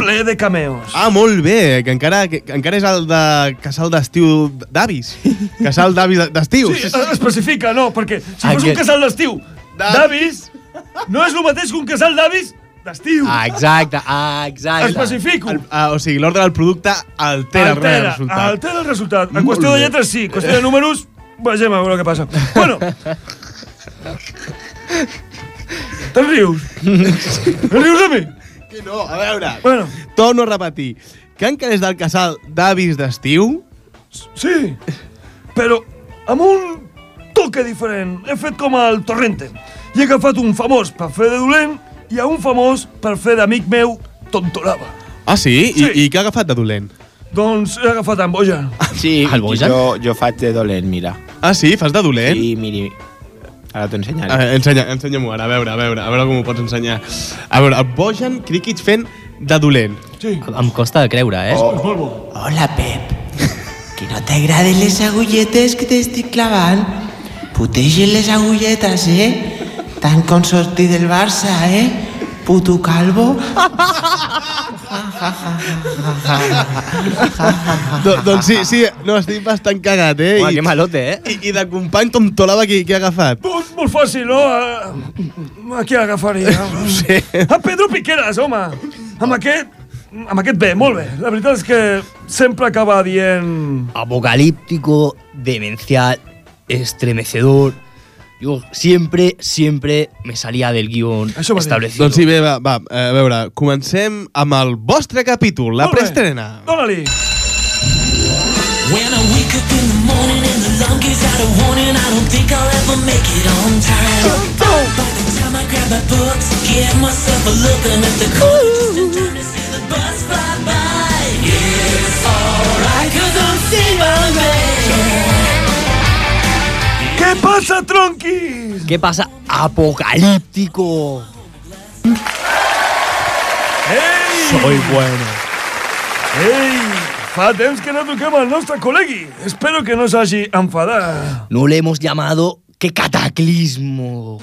Speaker 11: ple de cameos.
Speaker 1: Ah, molt bé, que encara, que, que encara és el de casal d'estiu d'avis. Casal d'avis d'estiu.
Speaker 11: Sí, especifica, no, perquè si fos un
Speaker 1: Aquest-
Speaker 11: casal d'estiu d'avis, no és el mateix que un casal d'avis d'estiu.
Speaker 1: Ah, exacte, ah, exacte.
Speaker 11: Especifico.
Speaker 1: El, ah, o sigui, l'ordre del producte altera, altera el
Speaker 11: altera,
Speaker 1: resultat.
Speaker 11: altera el resultat. En
Speaker 1: Molt
Speaker 11: qüestió de
Speaker 1: bé.
Speaker 11: lletres sí, en qüestió de números, vegem a veure què passa. Bueno. Te'n rius? Te'n rius de mi?
Speaker 1: Que no, a veure.
Speaker 11: Bueno.
Speaker 1: Torno a repetir. Que encara és del casal d'avis d'estiu?
Speaker 11: Sí, però amb un toque diferent. He fet com el Torrente. I he agafat un famós per fer de dolent i a un famós per fer d'amic meu tontorava.
Speaker 1: Ah, sí? sí. I, I què ha agafat de dolent?
Speaker 11: Doncs he agafat amb boja.
Speaker 8: Sí,
Speaker 1: El Bojan?
Speaker 8: jo, jo faig de dolent, mira.
Speaker 1: Ah, sí? Fas de dolent?
Speaker 8: Sí, miri. Ara t'ho ensenyaré.
Speaker 1: A veure, ensenya, ensenya-m'ho ara, a veure, a veure, a veure com ho pots ensenyar. A veure, el Bojan Crickets fent de dolent.
Speaker 11: Sí.
Speaker 2: Em costa de creure, eh?
Speaker 1: Oh.
Speaker 9: Hola, Pep. Que no t'agraden les agulletes que t'estic clavant? Putegen les agulletes, eh? Tant com sortir del Barça, eh? Puto calvo.
Speaker 1: Do, doncs sí, sí, no, estic bastant cagat, eh?
Speaker 2: Uah,
Speaker 1: I-
Speaker 2: que malote, eh?
Speaker 1: I, i de company Tom Tolava qui, qui ha agafat.
Speaker 11: Molt, molt fàcil, no? Eh, A qui agafaria? Sí. A Pedro Piqueras, home. Amb aquest, amb aquest bé, molt bé. La veritat és que sempre acaba dient...
Speaker 2: apocalíptico, demencial, estremecedor. Yo siempre, siempre me salía del guión establecido.
Speaker 1: Doncs sí, bé, va, va, eh, a veure, comencem amb el vostre capítol, la
Speaker 2: Molt bé.
Speaker 1: preestrena.
Speaker 11: Dóna-li!
Speaker 13: When I wake up in the morning and the alarm goes out of warning, I don't think I'll ever make it on time. By the time I grab my books, give myself a look and at the corner just in time to see the bus fly by. It's alright, cause I'm single man.
Speaker 11: Què passa, tronquis?
Speaker 2: Què passa, apocalíptico? Soy bueno.
Speaker 11: Ei, fa temps que no toquem al nostre col·legui. Espero que no s'hagi enfadat.
Speaker 2: No le hemos llamado que cataclismo.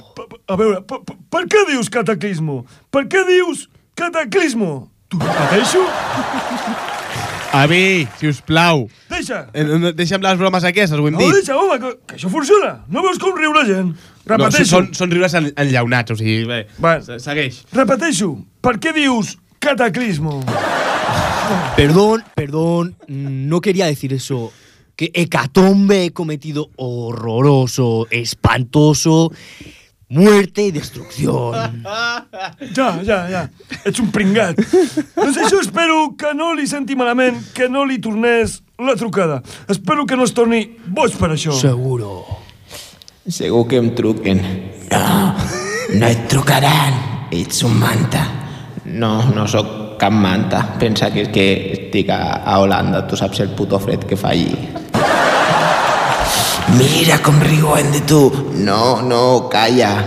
Speaker 11: A veure, per, per- per què dius cataclismo? Per què dius cataclismo? Tu pateixo?
Speaker 1: Avi, si us plau.
Speaker 11: Deixa!
Speaker 1: Eh, no, Deixa'm les bromes aquestes, ho hem
Speaker 11: No,
Speaker 1: dit.
Speaker 11: deixa, home, que, que això funciona. No veus com riu la gent?
Speaker 1: No,
Speaker 11: Repeteixo.
Speaker 1: són, són riures en, enllaunats, o sigui, bé,
Speaker 11: Va.
Speaker 1: se- segueix.
Speaker 11: Repeteixo, per què dius cataclismo?
Speaker 2: Perdón, perdón, no quería decir eso. Que hecatombe he cometido horroroso, espantoso, muerte y destrucción.
Speaker 11: Ja, ja, ja. Ets un pringat. doncs això espero que no li senti malament, que no li tornés la trucada. Espero que no es torni boig per això.
Speaker 2: Seguro.
Speaker 9: Segur que em truquen. No, no et trucaran. Ets un manta.
Speaker 8: No, no sóc cap manta. Pensa que és que estic a, a Holanda, tu saps el puto fred que fa allí.
Speaker 9: Mira com riuen de tu. No, no, calla.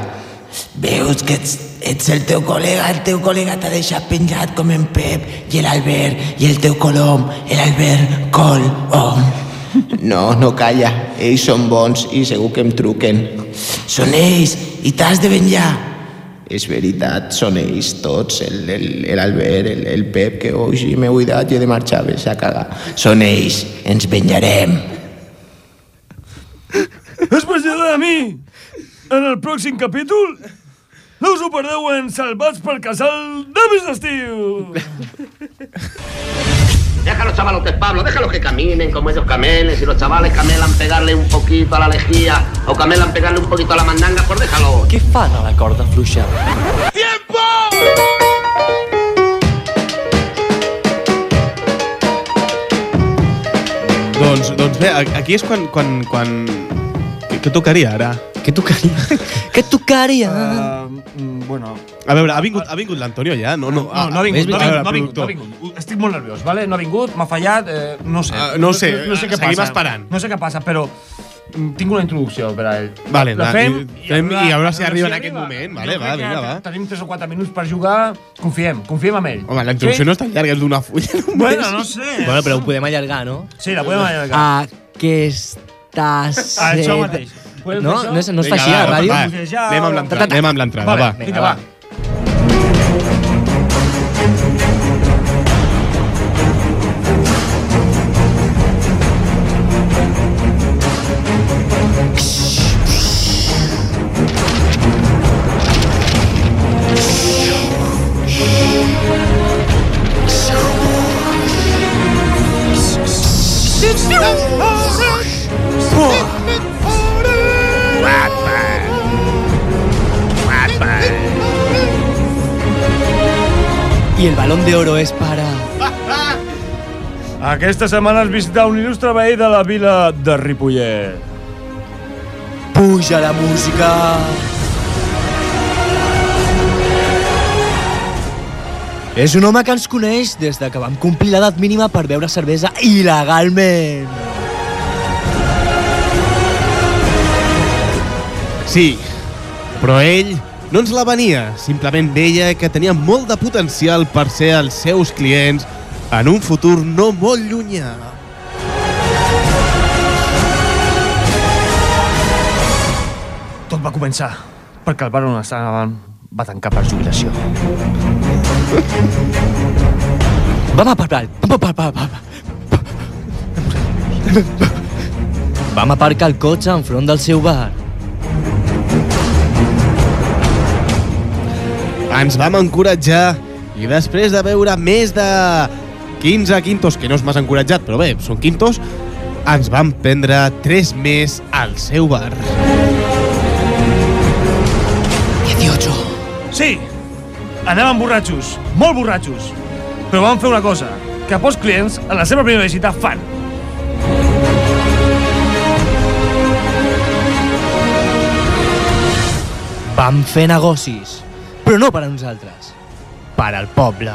Speaker 9: Veus que ets, ets el teu col·lega, el teu col·lega t'ha deixat penjat com en Pep i l'Albert i el teu colom, l'Albert Colom.
Speaker 8: No, no calla. Ells són bons i segur que em truquen.
Speaker 9: Són ells i t'has de venjar.
Speaker 8: És veritat, són ells tots, el- el- el Albert, el, el Pep, que hoy m'he buidat i he de marxar, vés a cagar. Són ells, ens venjarem.
Speaker 11: Es presentarà a mi en el pròxim capítol. No us ho perdeu en Salvats per Casal d'Avis d'Estiu.
Speaker 14: Deja a los chavalotes, Pablo, déjalos que caminen como ellos camelen. Si los chavales camelan pegarle un poquito a la lejía o camelan pegarle un poquito a la mandanga, pues déjalo.
Speaker 15: Què fan a la corda fluixa?
Speaker 1: Doncs, doncs bé, a- aquí és quan... quan, quan... Què, què tocaria ara? Eh,
Speaker 2: Què tocaria? què tocaria?
Speaker 11: Ah, Mm, bueno...
Speaker 1: A veure, ha vingut, ha vingut l'Antonio ja? No, no,
Speaker 11: No, no ha vingut, no ha
Speaker 1: A veure,
Speaker 11: vingut, no ha vingut, no ha Uh,
Speaker 1: productor.
Speaker 11: vingut. Estic molt nerviós, vale? no ha vingut, m'ha fallat, eh, no sé.
Speaker 1: Ah, no ho sé,
Speaker 11: no, no sé què
Speaker 1: seguim
Speaker 11: passa.
Speaker 1: esperant.
Speaker 11: No sé què passa, però mm, tinc una introducció per a ell.
Speaker 1: Vale,
Speaker 11: la
Speaker 1: va,
Speaker 11: fem
Speaker 1: i- fem i a veure si arriba en
Speaker 11: si
Speaker 1: aquest moment. Vale,
Speaker 11: Jo
Speaker 1: va,
Speaker 11: crec que
Speaker 1: vinga, va.
Speaker 11: te- Tenim 3 o 4 minuts per jugar, confiem, confiem en ell.
Speaker 1: Home, la introducció no és tan llarga, és d'una fulla només.
Speaker 11: Bueno, no sé.
Speaker 2: Bueno, però ho podem allargar, no? Ah,
Speaker 11: Sí, la
Speaker 1: Ah.
Speaker 11: podem allargar.
Speaker 2: Aquesta set...
Speaker 11: Això mateix. Podem
Speaker 2: No?
Speaker 11: fer això?
Speaker 2: No, es- no es fa
Speaker 1: Vinga,
Speaker 2: així a
Speaker 1: va,
Speaker 2: la ràdio?
Speaker 1: va, anem amb l'entrada, anem amb l'entrada,
Speaker 2: Vale,
Speaker 1: va.
Speaker 2: Vinga,
Speaker 1: Va.
Speaker 2: va. Y el balón de oro es para...
Speaker 7: Aquesta setmana has visitat un il·lustre veí de la vila de Ripollet.
Speaker 2: Puja la música. És un home que ens coneix des de que vam complir l'edat mínima per beure cervesa il·legalment.
Speaker 1: Sí, però ell no ens la venia. Simplement veia que tenia molt de potencial per ser els seus clients en un futur no molt llunyà.
Speaker 7: Tot va començar perquè el bar on estàvem va tancar per jubilació.
Speaker 2: Va, va, va, va, va, va, va. Vam aparcar el cotxe enfront del seu bar.
Speaker 1: Ens vam encoratjar i després de veure més de 15 quintos, que no és massa encoratjat, però bé, són quintos, ens van prendre 3 més al seu bar.
Speaker 7: 18. Sí, anàvem borratxos, molt borratxos. Però vam fer una cosa, que pocs clients a la seva primera visita fan.
Speaker 2: Vam fer negocis, però no per a nosaltres, per al poble.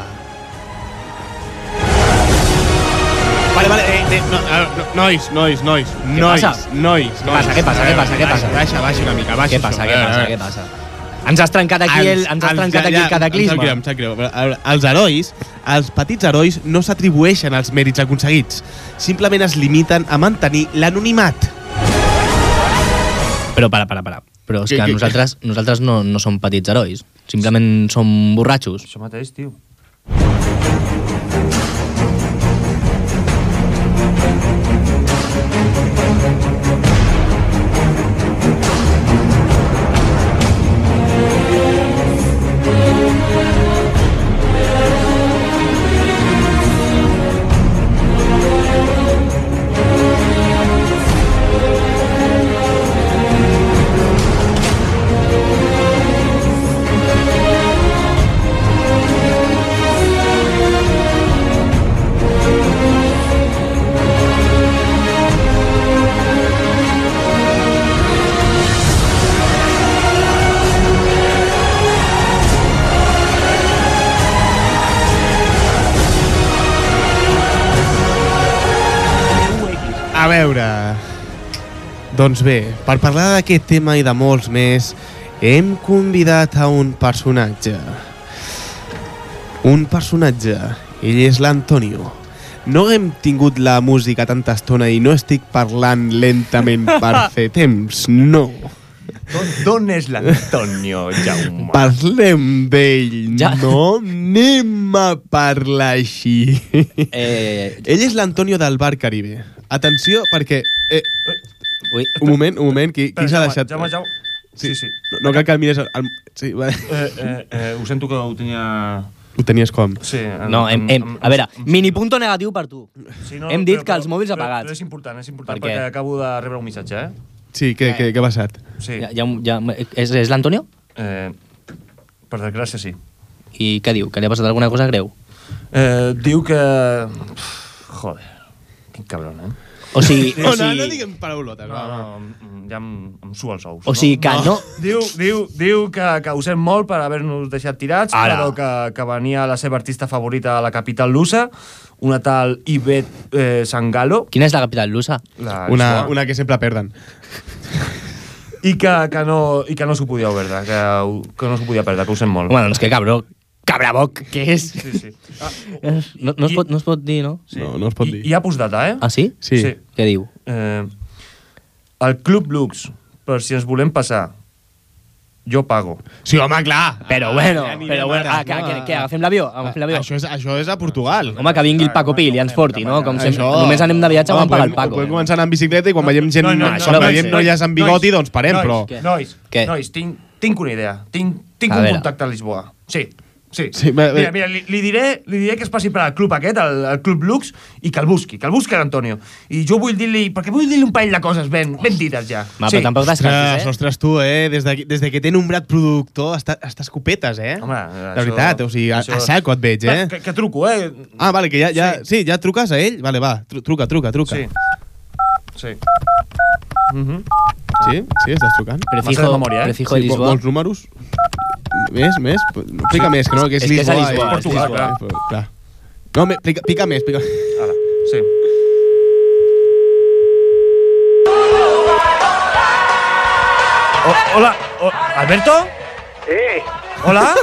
Speaker 1: Vale, vale, eh, eh, no, eh, no, nois, nois, nois,
Speaker 2: Què
Speaker 1: nois,
Speaker 2: passa?
Speaker 1: nois,
Speaker 2: Què
Speaker 1: nois.
Speaker 2: passa, què passa,
Speaker 1: A
Speaker 2: què
Speaker 1: veure,
Speaker 2: passa, què
Speaker 1: baixa,
Speaker 2: passa?
Speaker 1: Baixa, baixa una mica, baixa.
Speaker 2: Què passa,
Speaker 1: això, Eh,
Speaker 2: què
Speaker 1: a veure,
Speaker 2: passa,
Speaker 1: a veure.
Speaker 2: què passa? Ens has trencat aquí el- ens has trencat aquí el cataclisme.
Speaker 1: Em sap greu, em sap greu. Però, a veure, els herois, els petits herois, no s'atribueixen els mèrits aconseguits. Simplement es limiten a mantenir l'anonimat.
Speaker 2: Però para, para, para. Però és
Speaker 1: Què,
Speaker 2: que
Speaker 1: què, què?
Speaker 2: nosaltres, nosaltres no, no som petits herois, simplement som borratxos.
Speaker 7: Això mateix, tio.
Speaker 1: A veure... Doncs bé, per parlar d'aquest tema i de molts més, hem convidat a un personatge. Un personatge. Ell és l'Antonio. No hem tingut la música tanta estona i no estic parlant lentament per fer temps, no.
Speaker 7: D'on és l'Antonio, Jaume?
Speaker 1: Parlem d'ell, no? Anem a parlar així.
Speaker 2: Eh...
Speaker 1: Ell és l'Antonio del Bar Caribe. Atenció, perquè... Eh,
Speaker 2: Ui.
Speaker 1: Un moment, un moment, qui, qui s'ha deixat?
Speaker 7: Jaume, Jaume, Sí, sí.
Speaker 1: No, no cal que el mires... Al... Sí, vale.
Speaker 7: Eh, eh, eh, ho sento que ho tenia...
Speaker 1: Ho tenies com?
Speaker 7: Sí.
Speaker 2: No, hem, hem, a veure, mini punto negatiu per tu.
Speaker 7: Sí,
Speaker 2: Hem dit que els mòbils apagats.
Speaker 7: Però, però és important, és
Speaker 2: Per
Speaker 7: important,
Speaker 2: què?
Speaker 7: perquè acabo de rebre un missatge, eh?
Speaker 1: Sí, què, què, què ha passat?
Speaker 7: Sí.
Speaker 2: Ja, ja, ja, és és l'Antonio?
Speaker 7: Eh, per desgràcia, sí.
Speaker 2: I què diu? Que li ha passat alguna cosa greu?
Speaker 7: Eh, diu que... Joder, quin cabron, eh?
Speaker 2: O sigui-
Speaker 1: No, no, no diguem paraulotes.
Speaker 7: No, no, mm, ja em, em sua els ous.
Speaker 2: O sigui que no-
Speaker 7: Diu, diu, diu que, que ho sent molt per haver-nos deixat tirats,
Speaker 2: Ara.
Speaker 7: però que, que venia la seva artista favorita a la capital lusa, una tal Ivette eh, Sangalo.
Speaker 2: Quina és la capital lusa?
Speaker 7: La,
Speaker 1: Una, una que sempre perden.
Speaker 7: I que, que no, i que no s'ho podia perdre, que, ho- que no s'ho podia perdre, que ho sent molt.
Speaker 2: Home, doncs que cabró, cabraboc, què és?
Speaker 7: Sí, sí.
Speaker 2: No, no, es pot, no es pot dir, no?
Speaker 1: Sí. No, no es pot dir.
Speaker 7: Hi ha postdata, eh?
Speaker 2: Ah, sí?
Speaker 1: Sí.
Speaker 2: Què diu?
Speaker 7: Eh, el Club Lux, per si ens volem passar, jo pago.
Speaker 1: Sí, home, clar.
Speaker 2: Però bueno, però bueno, ah, que, que, que agafem l'avió, agafem l'avió.
Speaker 1: Això és, això és a Portugal.
Speaker 2: Home, que vingui el Paco Pil i ens porti, no? Com sempre,
Speaker 1: Això.
Speaker 2: només anem de viatge,
Speaker 1: Home,
Speaker 2: vam pagar el eh?
Speaker 1: podem-
Speaker 2: Paco.
Speaker 1: Podem començar a anar en bicicleta i quan veiem gent...
Speaker 7: No, no, no,
Speaker 1: quan
Speaker 7: no,
Speaker 1: veiem
Speaker 7: nois,
Speaker 1: noies amb bigoti, doncs parem,
Speaker 7: nois,
Speaker 1: però...
Speaker 7: Nois,
Speaker 2: Què?
Speaker 7: nois, tinc, tinc una idea. Tinc, tinc
Speaker 2: A
Speaker 7: un
Speaker 2: veure.
Speaker 7: contacte a Lisboa. Sí, Sí.
Speaker 1: Sí, va- va-
Speaker 7: mira, mira, li, li, diré, li diré que es passi per al club aquest, al, al club Lux, i que el busqui, que el busqui l'Antonio. I jo vull dir-li, perquè vull dir-li un parell de coses ben, ben dites ja. sí.
Speaker 1: Ostres, ostres, tu, eh? Des de, des de que t'he nombrat productor, està, estàs copetes, eh?
Speaker 7: Home,
Speaker 1: de veritat, o sigui, a, a saco et veig, eh?
Speaker 7: Que, que truco, eh?
Speaker 1: Ah, vale, que ja, ja, sí. ja truques a ell? Vale, va, tru truca, truca, truca. Sí.
Speaker 7: Sí. Mhm.
Speaker 1: sí, sí, estàs trucant.
Speaker 7: Prefijo- Massa de memòria, eh? prefijo de
Speaker 1: vol-
Speaker 7: Lisboa.
Speaker 1: Vols números? Més, més? Pica
Speaker 7: Sí.
Speaker 1: més, que no, que és,
Speaker 7: És que és a
Speaker 1: Lisboa.
Speaker 7: Lisboa, és Portugal,
Speaker 1: clar. clar. No, me, pica, pica més, pica
Speaker 7: Ara, sí. O- hola, o- ¿Alberto?
Speaker 16: Sí.
Speaker 7: ¿Hola?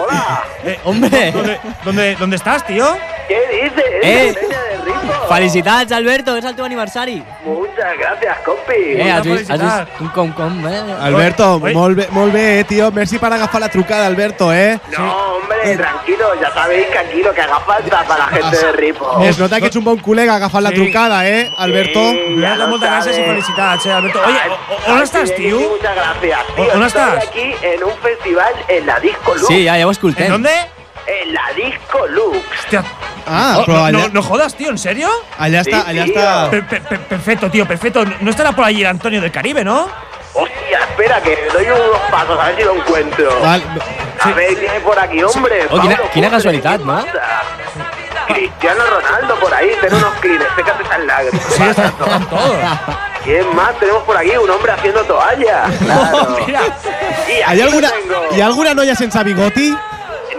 Speaker 16: Hola.
Speaker 7: Eh, hombre. ¿Dónde, dónde, dónde estás, tío?
Speaker 16: ¿Qué dices?
Speaker 2: Eh.
Speaker 16: Peña de Rico.
Speaker 2: Felicitats, Alberto, que és el teu aniversari.
Speaker 16: Muchas gracias, compi.
Speaker 2: Eh, has vist, has vist com, com, com, eh?
Speaker 1: Alberto, molt bé, molt bé, eh, tio. Merci per agafar la trucada, Alberto, eh?
Speaker 16: No, hombre, tranquilo, ya sabéis que aquí lo que haga falta para la gente de Ripo.
Speaker 1: Es nota que ets un bon col·lega agafant la trucada, eh, Alberto?
Speaker 16: Sí, ya lo
Speaker 7: Moltes gràcies i
Speaker 16: sabes.
Speaker 7: felicitats, eh, Alberto. Oye, o- o- on estàs, tio?
Speaker 16: Muchas gracias.
Speaker 7: ¿O-
Speaker 16: Tío,
Speaker 7: dónde
Speaker 16: estoy
Speaker 7: estás?
Speaker 16: aquí en un festival en la Disco Lux.
Speaker 2: Sí, ja, ja ho escoltem.
Speaker 7: En dónde?
Speaker 16: En la Disco Lux.
Speaker 7: Hostia.
Speaker 1: Ah,
Speaker 7: Oh,
Speaker 1: però
Speaker 7: no,
Speaker 1: allà-
Speaker 7: no, no jodas, tío, ¿en serio?
Speaker 1: Allá está- Sí, allá tío. está-
Speaker 7: Per- per- per- perfecto, tío, perfecto. No estará por allí el Antonio del Caribe, ¿no?
Speaker 16: Hostia, espera, que doy unos pasos a ver si lo encuentro.
Speaker 7: Vale.
Speaker 16: A ver quién es por aquí, hombre.
Speaker 2: Oh, quina,
Speaker 16: Pablo
Speaker 2: quina
Speaker 16: Futre,
Speaker 2: casualitat, no?
Speaker 16: Cristiano Ronaldo por ahí, ten unos crines, sécate esas lágrimas.
Speaker 7: Están todos.
Speaker 16: ¿Quién más tenemos por aquí? Un hombre haciendo toalla. Claro. Y aquí
Speaker 1: Hi ha, Oh, alguna,
Speaker 16: lo tengo.
Speaker 1: hi ha alguna noia sense bigoti?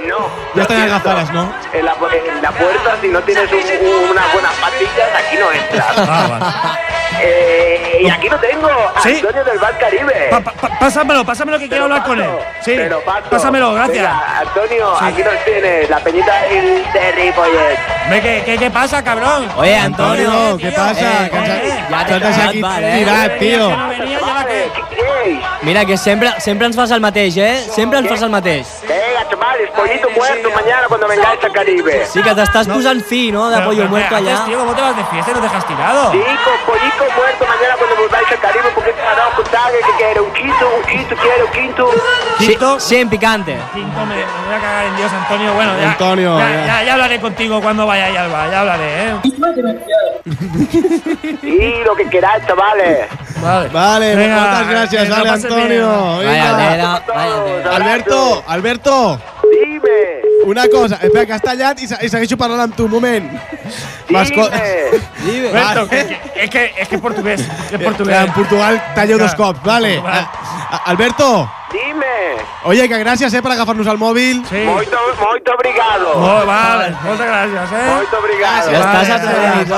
Speaker 16: No.
Speaker 1: Ja estan
Speaker 16: siento.
Speaker 1: agafades, no?
Speaker 16: En la, en la puerta, si no tienes un- un- unas buenas patillas, aquí no entras. Eh, y aquí lo tengo,
Speaker 7: Sí.
Speaker 16: Antonio del Bar Caribe.
Speaker 7: Pa- pa- pa- pásamelo, pásamelo que quiero hablar con él. Sí,
Speaker 16: Pero Paco,
Speaker 7: pásamelo, gracias.
Speaker 16: venga, Antonio,
Speaker 7: Sí.
Speaker 16: aquí nos tienes, la peñita del de Ripollet.
Speaker 7: Ve, ¿qué, qué, qué pasa, cabrón? Eh,
Speaker 2: Oye, Antonio,
Speaker 1: Antonio, ¿qué pasa? Que ens ha-
Speaker 2: Ja
Speaker 1: ens has aquí tirat, tio.
Speaker 2: Mira, que sempre, sempre ens fas el mateix, eh? Sempre ens fas el mateix.
Speaker 16: Venga, chavales, pollito muerto mañana cuando vengáis al Caribe.
Speaker 2: Sí que t'estàs posant fi, no?, de
Speaker 16: Però-
Speaker 2: pollo
Speaker 16: però
Speaker 2: muerto
Speaker 7: eh,
Speaker 16: què haces,
Speaker 2: allá.
Speaker 16: tio?
Speaker 7: ¿Cómo te vas de fiesta y nos dejas tirado?
Speaker 16: Chicos, pollito muerto mañana cuando volváis al Caribe porque te hará un puntaje que quiero un quinto, un quinto, quiero un quinto.
Speaker 2: Sí, sí, en picante.
Speaker 7: Quinto, me, me voy a cagar en Dios, Antonio. Bueno, ya,
Speaker 2: Antonio,
Speaker 7: ya,
Speaker 2: ya.
Speaker 7: ya, ya hablaré contigo cuando vaya ahí al bar, ya hablaré, ¿eh?
Speaker 16: Y lo que queráis, chavales.
Speaker 7: Vale,
Speaker 1: Vale,
Speaker 16: Ah,
Speaker 1: moltes gràcies,
Speaker 16: eh,
Speaker 1: ah. vale, Antonio. Vinga. Alberto, Alberto.
Speaker 16: Dime.
Speaker 1: Una cosa, espera, que has tallat i, se- i segueixo parlant amb tu, un moment. M'esco-
Speaker 7: Dime.
Speaker 16: Ah,
Speaker 1: Vale.
Speaker 7: es, que, es que es portugués, es portugués.
Speaker 1: Clar, En Portugal tallo dos cops, vale.
Speaker 7: eh, Portugal.
Speaker 1: A- a- Alberto,
Speaker 16: Dime.
Speaker 1: oye, que gràcies eh, per agafar-nos el mòbil.
Speaker 7: Sí.
Speaker 16: Muito, muito obrigado.
Speaker 1: Oh,
Speaker 7: Molt, vale, moltes gràcies, eh?
Speaker 16: Molt obrigado.
Speaker 2: Ja estàs atrevit.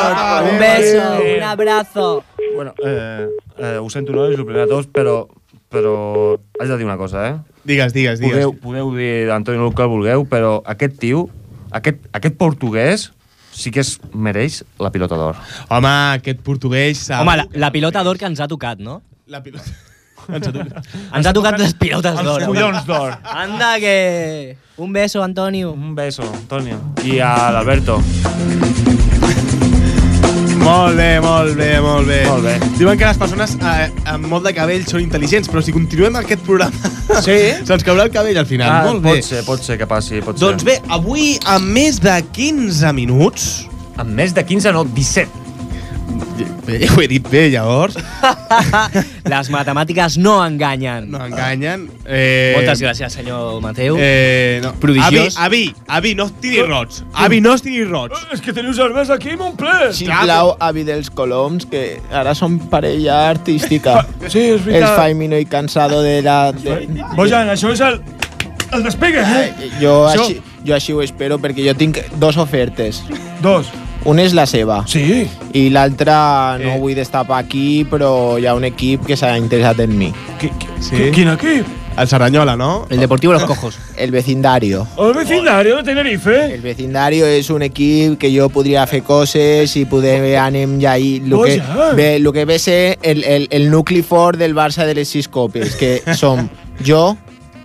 Speaker 2: Un beso,
Speaker 7: Sí.
Speaker 2: un abrazo.
Speaker 7: Bueno, eh, eh, ho sento, nois, el primer de tots, però, però haig de dir una cosa, eh?
Speaker 1: Digues, digues, digues.
Speaker 7: Podeu, podeu dir d'Antonio el que vulgueu, però aquest tio, aquest, aquest portuguès, sí que es mereix la pilota d'or.
Speaker 1: Home, aquest portuguès... Sap...
Speaker 2: Home, la, la pilota d'or que ens ha tocat, no?
Speaker 1: La pilota... Ens ha tocat,
Speaker 2: ens ha tocat les pilotes
Speaker 7: Els
Speaker 2: d'or.
Speaker 7: collons d'or.
Speaker 2: Anda, que... Un beso, Antonio. Un
Speaker 7: beso, Antonio. I a l'Alberto.
Speaker 1: Molt bé, molt bé, molt bé. Molt bé. Diuen que les persones eh, amb molt de cabell són intel·ligents, però si continuem aquest programa... Sí? Se'ns caurà el cabell al final. molt bé.
Speaker 7: Ah, Pot ser, pot ser que passi, pot
Speaker 1: Doncs
Speaker 7: ser.
Speaker 1: bé, avui amb més de 15 minuts...
Speaker 7: Amb més de 15, no, 17.
Speaker 1: Bé, ho he dit bé, llavors.
Speaker 2: Les matemàtiques no enganyen. No
Speaker 1: enganyen. Eh...
Speaker 2: Moltes gràcies, senyor Mateu.
Speaker 1: Eh, no.
Speaker 2: Prodigiós.
Speaker 1: Avi, avi, avi, no estiri rots. Avi, no estiri rots.
Speaker 7: És que teniu cervesa aquí, mon ple.
Speaker 8: Sisplau, avi dels Coloms, que ara són parella artística.
Speaker 7: Sí, és veritat.
Speaker 8: El Faimino i Cansado de la... De,
Speaker 7: Bojan, això és el... El despegue, eh?
Speaker 8: jo,
Speaker 7: Això-
Speaker 8: així, jo així ho espero perquè jo tinc dos ofertes.
Speaker 7: Dos.
Speaker 8: Una és la seva.
Speaker 7: Sí. Eh.
Speaker 8: I l'altra no vull destapar aquí, però hi ha un equip que s'ha interessat en mi.
Speaker 7: Qui, qui, quin equip?
Speaker 1: El Saranyola, no?
Speaker 2: El Deportivo Los Cojos.
Speaker 8: El vecindario.
Speaker 7: El vecindario de Tenerife.
Speaker 8: El vecindario és un equip que jo podria fer coses i
Speaker 7: Oh.
Speaker 8: poder anem ja ahí. Lo que,
Speaker 7: Boja.
Speaker 8: ve, lo que ve ser el, el, el nucli fort del Barça de les sis copes, que som jo,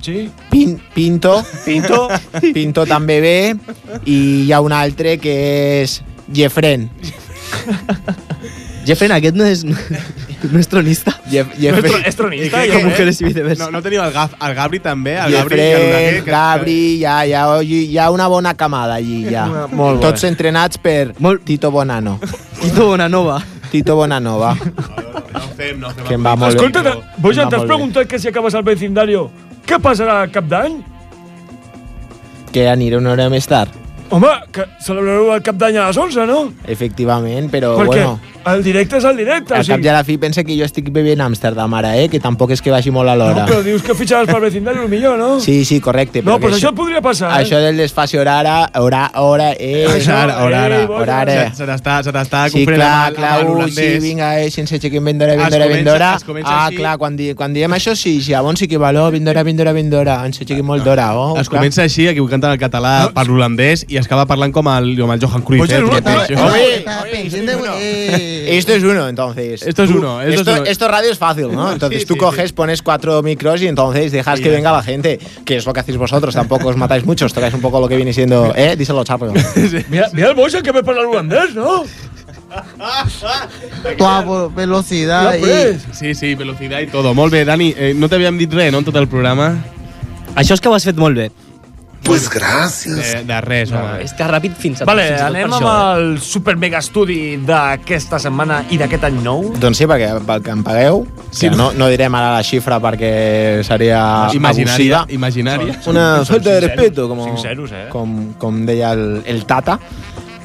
Speaker 7: Sí.
Speaker 8: Pin, Pinto,
Speaker 7: Pinto.
Speaker 8: Pinto també bé, i hi ha un altre que és Jefren.
Speaker 2: Jefren, aquest no és... No es tronista. mujeres y viceversa.
Speaker 1: No, no teniu el, Gaf, el Gabri també? El Gabri, i el Oleguer,
Speaker 8: Jeffrey,
Speaker 1: que-
Speaker 8: Gabri, ja, ja, hi ha una bona camada allí, ja.
Speaker 1: Una- molt bé.
Speaker 8: Tots entrenats per Tito Bonano. Tito Bonanova. Tito Bonanova. Que em va molt bé.
Speaker 11: Escolta,
Speaker 8: Em va
Speaker 11: Bojan, t'has
Speaker 8: molt bé.
Speaker 11: preguntat que si acabes al vecindario què passarà cap d'any?
Speaker 8: Que aniré una hora més tard.
Speaker 11: Home, que celebrareu el cap d'any a les 11, no?
Speaker 8: Efectivament, però
Speaker 11: Perquè
Speaker 8: bueno...
Speaker 11: el directe és el directe.
Speaker 8: Al cap i a la fi pensa que jo estic vivint a Amsterdam ara, eh? Que tampoc és que vagi molt a l'hora.
Speaker 11: Però dius que fitxaràs pel vecindario, el millor, no?
Speaker 8: Sí, sí, correcte.
Speaker 11: No,
Speaker 8: però que
Speaker 11: pues això podria passar, eh?
Speaker 8: Això del desfase horara, hora, hora, eh...
Speaker 1: Ara, ara, ara.
Speaker 8: horara.
Speaker 1: Se- Se t'està, se t'està
Speaker 8: Sí,
Speaker 1: confonent
Speaker 8: clar,
Speaker 1: amb el-
Speaker 8: clar,
Speaker 1: amb
Speaker 8: uh, sí,
Speaker 1: l'holandès.
Speaker 8: vinga, eh, sense aixequem vendora, vendora,
Speaker 1: Es comença-
Speaker 8: vendora.
Speaker 1: es comença
Speaker 8: Ah,
Speaker 1: així.
Speaker 8: clar, quan, di, quan diem això sí, llavors sí que valor, vendora, vendora, vendora, ens aixequem molt d'hora, oh,
Speaker 1: Es comença així, equivocant en el català per l'holandès i acaba parlant com el, com el Johan Cruyff.
Speaker 8: Pues
Speaker 1: eh?
Speaker 8: és una-
Speaker 1: Atenció.
Speaker 8: Oye, Eh, Esto es uno, entonces.
Speaker 1: Esto es uno, esto es
Speaker 8: Esto,
Speaker 1: uno.
Speaker 8: esto radio es fácil, ¿no? Entonces
Speaker 1: Sí,
Speaker 8: tú
Speaker 1: sí,
Speaker 8: coges, pones cuatro micros y entonces dejas que venga la gente, que es lo que hacéis vosotros. Tampoco os matáis muchos, tocáis un poco lo que viene siendo. ¿Eh? Díselo, Chapo.
Speaker 11: Mira, mira el Bojan que ve per l'holandès, no?
Speaker 9: velocidad
Speaker 1: Sí, sí, velocidad y todo. Molt bé, Dani, eh, no t'havíem dit res, no, en tot el programa?
Speaker 2: Això és que ho has fet molt bé.
Speaker 1: Pues gràcies. Eh, de res, home.
Speaker 2: És que ràpid fins a...
Speaker 7: Vale,
Speaker 2: fins i tot per
Speaker 7: anem
Speaker 2: això,
Speaker 7: amb el super mega estudi d'aquesta setmana i d'aquest any nou.
Speaker 8: Doncs sí, perquè pel que em pagueu, sí. que no, no direm ara la xifra perquè seria abusiva.
Speaker 1: Imaginària, imaginària.
Speaker 8: Una falta de
Speaker 1: cinc
Speaker 8: respeto,
Speaker 1: zeros,
Speaker 8: com,
Speaker 1: cinc zeros, eh?
Speaker 8: com, com deia el, el Tata.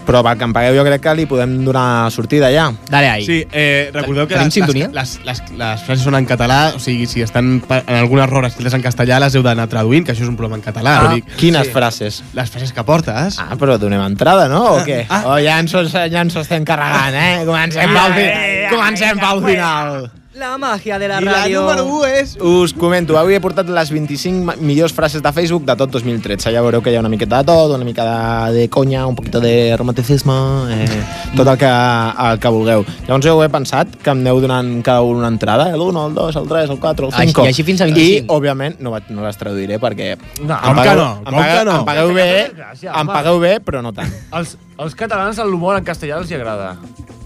Speaker 8: Però pel que em pagueu jo crec que li podem donar sortida ja.
Speaker 2: Dale
Speaker 1: Sí, eh, recordeu que
Speaker 8: Tenim
Speaker 1: les,
Speaker 8: sintonia?
Speaker 1: les, les, les, les frases són en català, o sigui, si estan pa- en algun error escrites en castellà, les heu d'anar traduint, que això és un problema en català.
Speaker 8: Ah,
Speaker 1: vull dir-
Speaker 8: quines frases?
Speaker 1: Les frases que portes.
Speaker 8: Ah, però donem entrada, no? O què? Ah. Oh, ja ens, ho- ja ens ho estem carregant, eh? Comencem pel final. Comencem pel final.
Speaker 2: La màgia de la
Speaker 8: I la
Speaker 2: ràdio.
Speaker 8: número u
Speaker 1: és...
Speaker 8: Us comento, avui he portat les 25 ma- millors frases de Facebook de tot 2013. Ja veureu que hi ha una miqueta de tot, una mica de, de conya, un poquito de romanticisme, eh, tot el que, el que vulgueu. Llavors jo he pensat que em aneu donant cada un una entrada, eh, l'1, el 2, el 3, el 4, el
Speaker 2: Així-
Speaker 8: 5.
Speaker 2: i així fins a
Speaker 8: I,
Speaker 2: 25.
Speaker 8: òbviament, no, vaig- no les traduiré perquè... em
Speaker 7: No, com que
Speaker 8: pagueu-
Speaker 7: no?
Speaker 8: em
Speaker 7: Com
Speaker 8: pagueu-
Speaker 7: que no?
Speaker 8: Em pagueu bé,
Speaker 7: Gràcies, home.
Speaker 8: em pagueu bé, però no tant.
Speaker 7: Els, els catalans l'humor en castellà els hi agrada.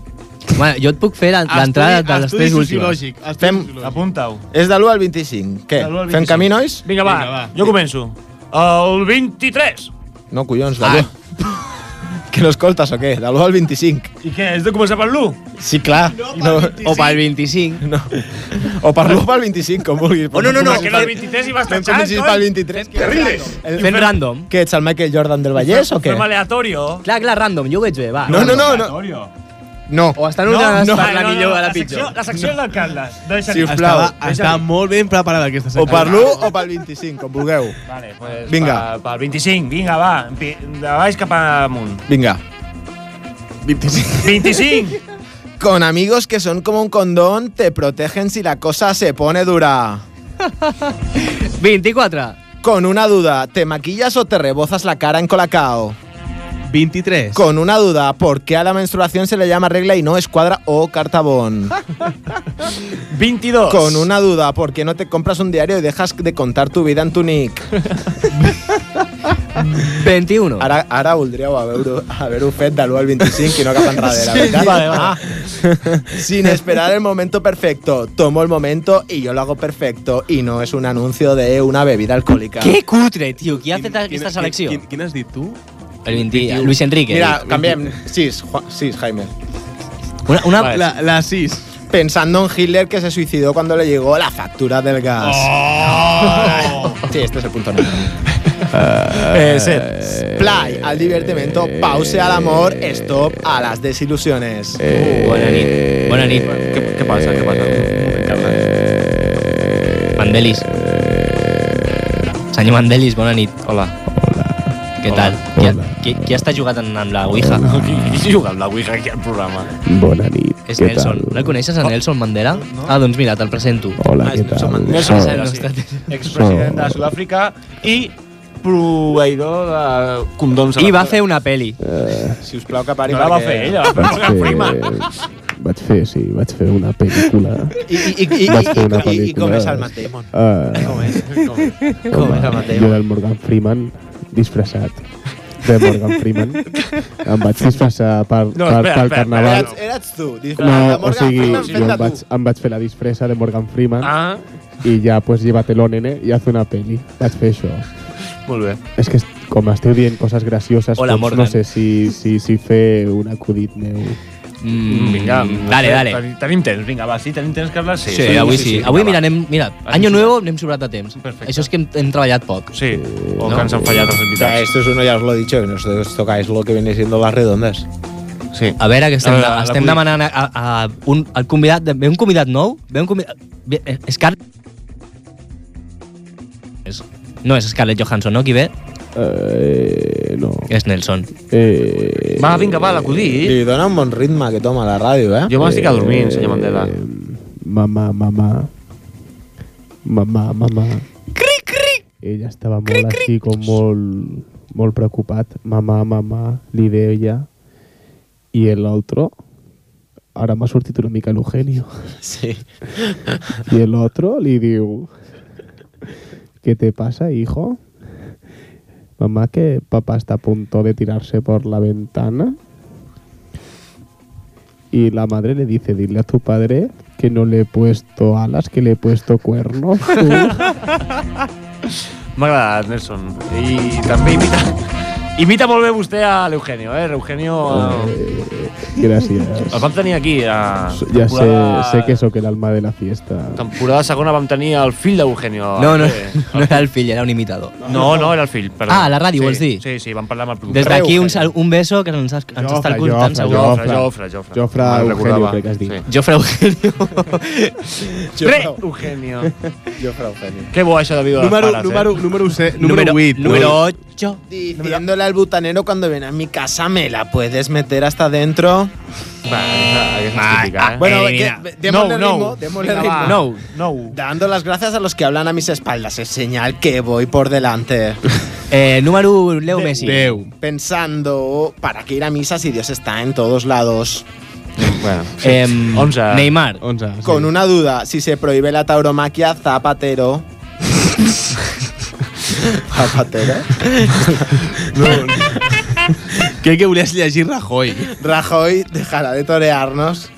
Speaker 2: Bueno, jo et puc fer la- l'entrada de les tres últimes.
Speaker 8: Fem...
Speaker 7: Apunta-ho.
Speaker 8: És de l'1 al 25. Què?
Speaker 7: De l'u al
Speaker 8: Fem
Speaker 7: 25.
Speaker 8: camí, nois?
Speaker 7: Vinga, va. Vinga, va. Jo començo. El 23.
Speaker 8: No, collons, de
Speaker 7: Ah.
Speaker 8: l'1. que no escoltes o què? De l'1 al 25.
Speaker 7: I què, has de començar per l'1?
Speaker 8: Sí, clar. No, o pel
Speaker 2: 25.
Speaker 8: No. O per l'1 o pel 25, com vulguis.
Speaker 7: Oh, no, no, no,
Speaker 8: Comencis
Speaker 7: que del 23 hi vas
Speaker 8: Fem
Speaker 7: tachant,
Speaker 8: comencis
Speaker 7: coi.
Speaker 8: pel 23.
Speaker 7: Te rindes.
Speaker 8: El-
Speaker 7: Fem random.
Speaker 8: Què, ets el Michael Jordan del Vallès o què?
Speaker 7: Fem aleatorio.
Speaker 2: Clar, clar, random, jo ho veig bé, va.
Speaker 8: No, no, no, no. No.
Speaker 2: O estan ordenades per la millor a la
Speaker 7: secció-
Speaker 2: pitjor.
Speaker 7: La secció és l'alcalde. Deixa
Speaker 8: Sisplau.
Speaker 1: Estava, està molt ben preparada aquesta
Speaker 8: O
Speaker 1: secció.
Speaker 8: per l'1 o pel 25, com vulgueu.
Speaker 7: Vale, pues
Speaker 8: Vinga.
Speaker 7: Pel, pel 25, vinga, va. Empi- De baix cap amunt.
Speaker 8: Vinga.
Speaker 1: 25.
Speaker 7: 25.
Speaker 8: Con amigos que son como un condón, te protegen si la cosa se pone dura.
Speaker 2: 24.
Speaker 8: Con una duda, ¿te maquillas o te rebozas la cara en colacao?
Speaker 1: 23.
Speaker 8: Con una duda, ¿por qué a la menstruación se le llama regla y no escuadra o cartabón?
Speaker 7: 22.
Speaker 8: Con una duda, ¿por qué no te compras un diario y dejas de contar tu vida en tu nick?
Speaker 2: 21.
Speaker 8: Ara, ara voldríeu haver-ho haver fet de l'1 al 25 i no cap enrere, la
Speaker 9: Sí,
Speaker 8: veritat.
Speaker 9: sí. Vale, va.
Speaker 8: Sin esperar el momento perfecto. Tomo el momento y yo lo hago perfecto. Y no es un anuncio de una bebida alcohólica.
Speaker 2: Que cutre, tio, qui ha fet aquesta selecció?
Speaker 1: Quin, quin has dit tu?
Speaker 2: El 20, Luis Enrique.
Speaker 8: Mira, también, sis, Ju- sis, Jaime.
Speaker 2: Una, una-
Speaker 1: la, la sis.
Speaker 8: Pensando en Hitler que se suicidó cuando le llegó la factura del gas.
Speaker 2: Oh.
Speaker 1: Oh.
Speaker 8: sí, este es el punto negro.
Speaker 7: Eh, set.
Speaker 8: Play al divertimento, pause al amor, stop a las desilusiones.
Speaker 2: Eh, Bona nit. Bona nit. Què, què passa? Què passa? Mandelis. Senyor Mandelis, bona nit. Hola. Hola. Què tal? Qui, ha- qui, qui està jugant amb amb la Ouija?
Speaker 7: Qui, qui juga amb la Ouija aquí al programa?
Speaker 17: Bona nit.
Speaker 2: És
Speaker 17: què
Speaker 2: Nelson.
Speaker 17: tal?
Speaker 2: No el coneixes, a Nelson Mandela? Ah, doncs mira, te'l presento.
Speaker 17: Hola, què tal?
Speaker 7: Ah, Nelson
Speaker 17: Oh,
Speaker 7: Mandela, sí. Expresident de Sud-àfrica i proveïdor de condoms.
Speaker 2: I va fer una peli.
Speaker 17: eh,
Speaker 8: Si us plau que pari
Speaker 7: No la va
Speaker 8: perquè-
Speaker 7: fer ella, la va fer la prima.
Speaker 17: vaig fer, sí, vaig fer una pel·lícula.
Speaker 8: I, i, i, i,
Speaker 17: vaig fer una
Speaker 8: i, i
Speaker 17: pel·lícula.
Speaker 8: com és el Matt Damon?
Speaker 17: Eh,
Speaker 8: Com és? Com,
Speaker 17: home,
Speaker 8: és el
Speaker 17: Jo
Speaker 8: Matt Damon?
Speaker 17: del Morgan Freeman disfressat. de Morgan Freeman. Em vaig disfressar per,
Speaker 8: No,
Speaker 17: per,
Speaker 8: espera,
Speaker 17: pel
Speaker 8: espera,
Speaker 17: carnaval.
Speaker 8: espera. Eres- eres tu, disfressat
Speaker 17: No,
Speaker 8: de
Speaker 17: o
Speaker 8: "Ah, Morgan
Speaker 17: sigui,
Speaker 8: Freeman fent
Speaker 17: jo
Speaker 8: de
Speaker 17: em vaig,
Speaker 8: tu.
Speaker 17: em vaig fer la disfressa de Morgan Freeman
Speaker 7: Ah.
Speaker 17: i ja, pues, llévatelo, nene, i haz una peli. Vaig fer això.
Speaker 7: Molt bé.
Speaker 17: És que est- com esteu dient coses gracioses,
Speaker 2: Hola,
Speaker 17: doncs
Speaker 2: Morgan.
Speaker 17: no sé si, si, si fer un acudit meu.
Speaker 2: Mm,
Speaker 7: Vinga, no
Speaker 2: dale,
Speaker 7: sé,
Speaker 2: dale.
Speaker 7: ten- Tenim temps, vinga, va, sí, tenim temps, Carles, sí.
Speaker 2: Sí, avui sí. Avui,
Speaker 7: va,
Speaker 2: mira,
Speaker 7: va.
Speaker 2: anem, mira, Año Nuevo anem sobrat de temps. Això és que hem, hem treballat poc.
Speaker 7: Sí,
Speaker 2: o oh, que ens han
Speaker 7: fallat els
Speaker 8: O sea, Eh, esto es uno, ya os lo he dicho, que nosotros tocáis lo que viene siendo las redondas.
Speaker 7: Sí.
Speaker 2: A veure, que estem, a, estem demanant a, a, a un, al convidat... de- Ve un convidat nou? Ve un convidat... Ve, eh, Scarlett... És, no és Scarlett Johansson, no? Qui ve?
Speaker 17: Eh, no.
Speaker 2: És Nelson.
Speaker 17: Eh,
Speaker 7: Va, vinga, va, l'acudit.
Speaker 8: Li dona un bon ritme que toma la ràdio, eh?
Speaker 7: Jo m'estic adormint, senyor Mandela.
Speaker 17: Mamá, mamá. Mamá, mamá.
Speaker 13: Cric, cric.
Speaker 17: Ella estava molt així, com molt, molt preocupat. Mamà, mamà, li deia. I el otro... Ara m'ha sortit una mica l'Eugenio.
Speaker 8: Sí.
Speaker 17: I el otro li diu... ¿Qué te pasa, hijo? Mamá, que papá está a punto de tirarse por la ventana. Y la madre le dice, dile a tu padre que no le he puesto alas, que le he puesto cuernos.
Speaker 7: M'ha agradat, Nelson. I també imita... Imita molt bé vostè a l'Eugenio, eh? Eugenio... Eh,
Speaker 17: Gràcies.
Speaker 7: el vam tenir aquí a...
Speaker 17: Ya
Speaker 7: temporada-
Speaker 17: sé, sé que eso que el alma de la fiesta.
Speaker 7: Temporada segona vam tenir el fill d'Eugenio.
Speaker 2: No, no,
Speaker 7: Eh,
Speaker 2: no era el fill, era un imitador.
Speaker 7: No, no, era el fill, perdó.
Speaker 2: Ah, a la ràdio,
Speaker 7: sí,
Speaker 2: vols dir?
Speaker 7: Sí, sí, vam parlar amb el productor.
Speaker 2: Des d'aquí un, sal- un beso que ens, ens està escoltant segur.
Speaker 7: Jofre, Jofre, Jofre.
Speaker 17: Jofre
Speaker 7: Me'n
Speaker 17: Eugenio,
Speaker 7: recordava.
Speaker 17: crec que es diu.
Speaker 2: Jofre Eugenio.
Speaker 7: Re, Eugenio.
Speaker 8: Jofre Eugenio.
Speaker 7: Que bo això de vida
Speaker 1: Número-
Speaker 7: dels pares,
Speaker 1: número-
Speaker 7: eh?
Speaker 1: número se- número Número- vuit, número no?
Speaker 2: 8.
Speaker 8: Diciéndole al butanero cuando viene a mi casa, me la puedes meter hasta adentro.
Speaker 2: Ah,
Speaker 7: Ah,
Speaker 1: Ah,
Speaker 8: Bueno,
Speaker 1: eh,
Speaker 2: eh,
Speaker 8: que- démosle ritmo, démosle
Speaker 7: Vinga,
Speaker 8: ritmo.
Speaker 7: va. No, no.
Speaker 8: Dando las gracias a los que hablan a mis espaldas, es señal que voy por delante.
Speaker 2: Eh, número Leo Messi.
Speaker 8: Pensando, ¿para qué ir a misa si Dios está en todos lados?
Speaker 7: Bueno,
Speaker 2: Em, Neymar.
Speaker 8: Con una duda, si se prohíbe la tauromaquia, zapatero. zapatero.
Speaker 1: Crec que volies llegir Rajoy.
Speaker 8: Rajoy dejará de torearnos.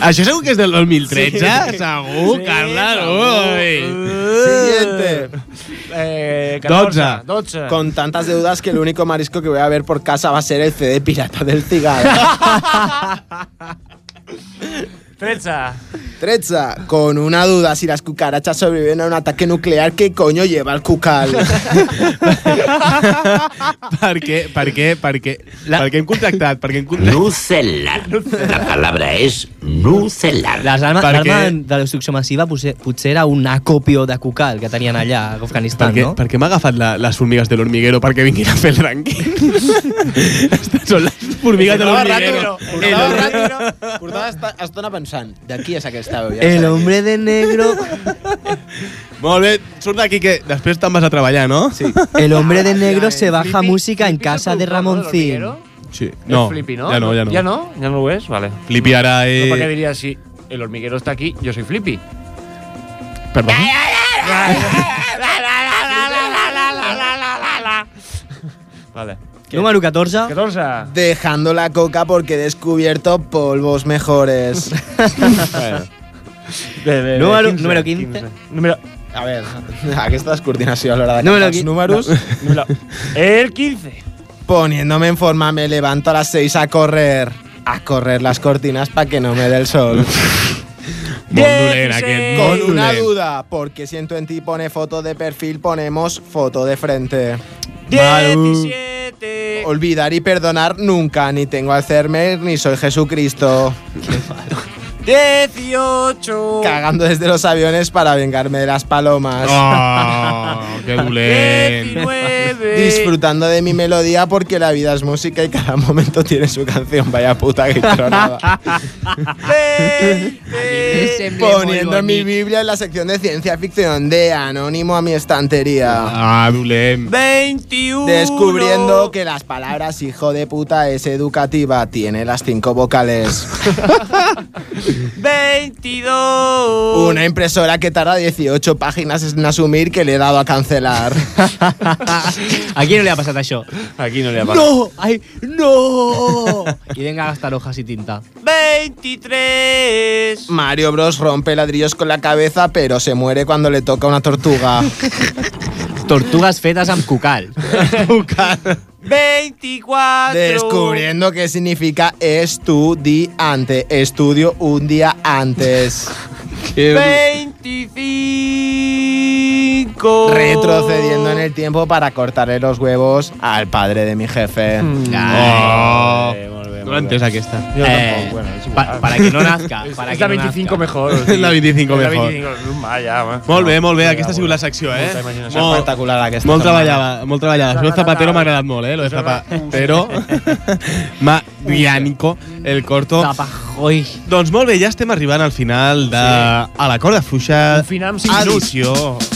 Speaker 1: Això segur que és del 2013?
Speaker 8: Sí.
Speaker 1: Segur,
Speaker 8: Sí,
Speaker 1: Carles. Ui.
Speaker 8: Siguiente.
Speaker 7: Eh,
Speaker 1: 14.
Speaker 7: 12.
Speaker 8: Con tantas deudas que el único marisco que voy a ver por casa va a ser el CD pirata del cigarro.
Speaker 7: 13.
Speaker 8: Treza, con una duda, si las cucarachas sobreviven a un ataque nuclear, ¿qué coño lleva el cucal?
Speaker 1: Per què? Per què? Per què? La... Per què hem contactat? Per què hem contactat?
Speaker 2: Nucelar.
Speaker 1: La
Speaker 2: palabra és nucelar. L'arma
Speaker 1: Per què?
Speaker 2: de la destrucció massiva potser, potser era un acopio de cucal que tenien allà a
Speaker 1: Per
Speaker 2: Afganistan,
Speaker 1: què,
Speaker 2: no?
Speaker 1: per què m'ha agafat la, les formigues de l'hormiguero perquè vinguin a fer el rànquing? Aquestes són les formigues de l'hormiguero.
Speaker 8: Portava ràtio, no? Portava esta- estona pensant, de qui és aquesta veu? Ja està.
Speaker 2: hombre de negro...
Speaker 1: Molt bé, surt d'aquí que després te'n vas a treballar, no? Sí.
Speaker 2: El hombre de negro se baja música en casa de Ramoncín.
Speaker 1: sí. No,
Speaker 7: Es Flippy, ¿no?
Speaker 1: ja no, eh, ja no.
Speaker 7: ¿Ya no? ¿Ya no lo ves? Vale.
Speaker 1: Flippy ara
Speaker 7: No, ¿Para qué
Speaker 1: és...
Speaker 7: diría si el hormiguero está aquí, yo soy Flippy?
Speaker 1: Perdón.
Speaker 7: Vale.
Speaker 2: Número 14.
Speaker 7: 14.
Speaker 8: Dejando la coca porque he descubierto polvos mejores.
Speaker 2: Número- 15, número 15.
Speaker 7: Número...
Speaker 8: A ver, aquesta descoordinació a l'hora de
Speaker 7: Número
Speaker 8: cantar els
Speaker 7: qui-
Speaker 8: números.
Speaker 7: Número... El 15.
Speaker 8: Poniéndome en forma me levanto a las 6 a correr. A correr las cortinas para que no me dé el sol.
Speaker 1: dolent, aquest, molt
Speaker 8: Con una
Speaker 1: dolent.
Speaker 8: duda, porque siento en ti pone foto de perfil, ponemos foto de frente.
Speaker 7: 17.
Speaker 8: Olvidar y perdonar nunca, ni tengo Alzheimer ni soy Jesucristo.
Speaker 7: 18.
Speaker 8: Cagando desde los aviones para vengarme de las palomas.
Speaker 1: Oh, qué dolent.
Speaker 7: 19.
Speaker 8: Disfrutando de mi melodía porque la vida es música y cada momento tiene su canción. Vaya puta que tronaba. Poniendo mi Biblia en la sección de ciencia ficción de Anónimo a mi estantería.
Speaker 1: Ah, dolent.
Speaker 7: 21.
Speaker 8: Descubriendo que las palabras hijo de puta es educativa, tiene las cinco vocales.
Speaker 5: 22.
Speaker 8: Una impresora que tarda 18 páginas en asumir que le he dado a cancelar.
Speaker 2: Aquí no le ha pasado això.
Speaker 7: Aquí no li ha
Speaker 2: ¡No! ¡Ay! ¡No! Y venga a gastar hojas y tinta.
Speaker 5: 23.
Speaker 8: Mario Bros rompe ladrillos con la cabeza, pero se muere cuando le toca una tortuga.
Speaker 2: Tortugas fetas amb cucal.
Speaker 5: 24.
Speaker 8: Descubriendo qué significa estudiante. Estudio un día antes.
Speaker 5: 25.
Speaker 8: Retrocediendo en el tiempo para cortarle los huevos al padre de mi jefe.
Speaker 2: Mm.
Speaker 8: Oh.
Speaker 2: Ay,
Speaker 1: No l'he entès, aquesta.
Speaker 2: Eh, pa- para que no nazca. Para
Speaker 7: És
Speaker 2: que
Speaker 7: la
Speaker 2: no
Speaker 7: 25
Speaker 2: nazca.
Speaker 7: mejor.
Speaker 1: La 25
Speaker 7: La
Speaker 1: mejor. eh,
Speaker 7: 25, va, ja, va.
Speaker 1: Molt bé, molt bé. Aquesta ha sigut la secció, eh?
Speaker 7: Molta imaginació.
Speaker 1: Molt-
Speaker 7: Espectacular, aquesta
Speaker 1: Molt
Speaker 7: setmana.
Speaker 1: treballada, molt treballada. Lo de Zapatero m'ha agradat molt, eh? Lo de Zapatero. Marianico, el corto.
Speaker 2: Zapajoi.
Speaker 1: Doncs molt bé, ja estem arribant al final de... A la corda fluixa. Un
Speaker 7: final amb
Speaker 2: cinc minuts.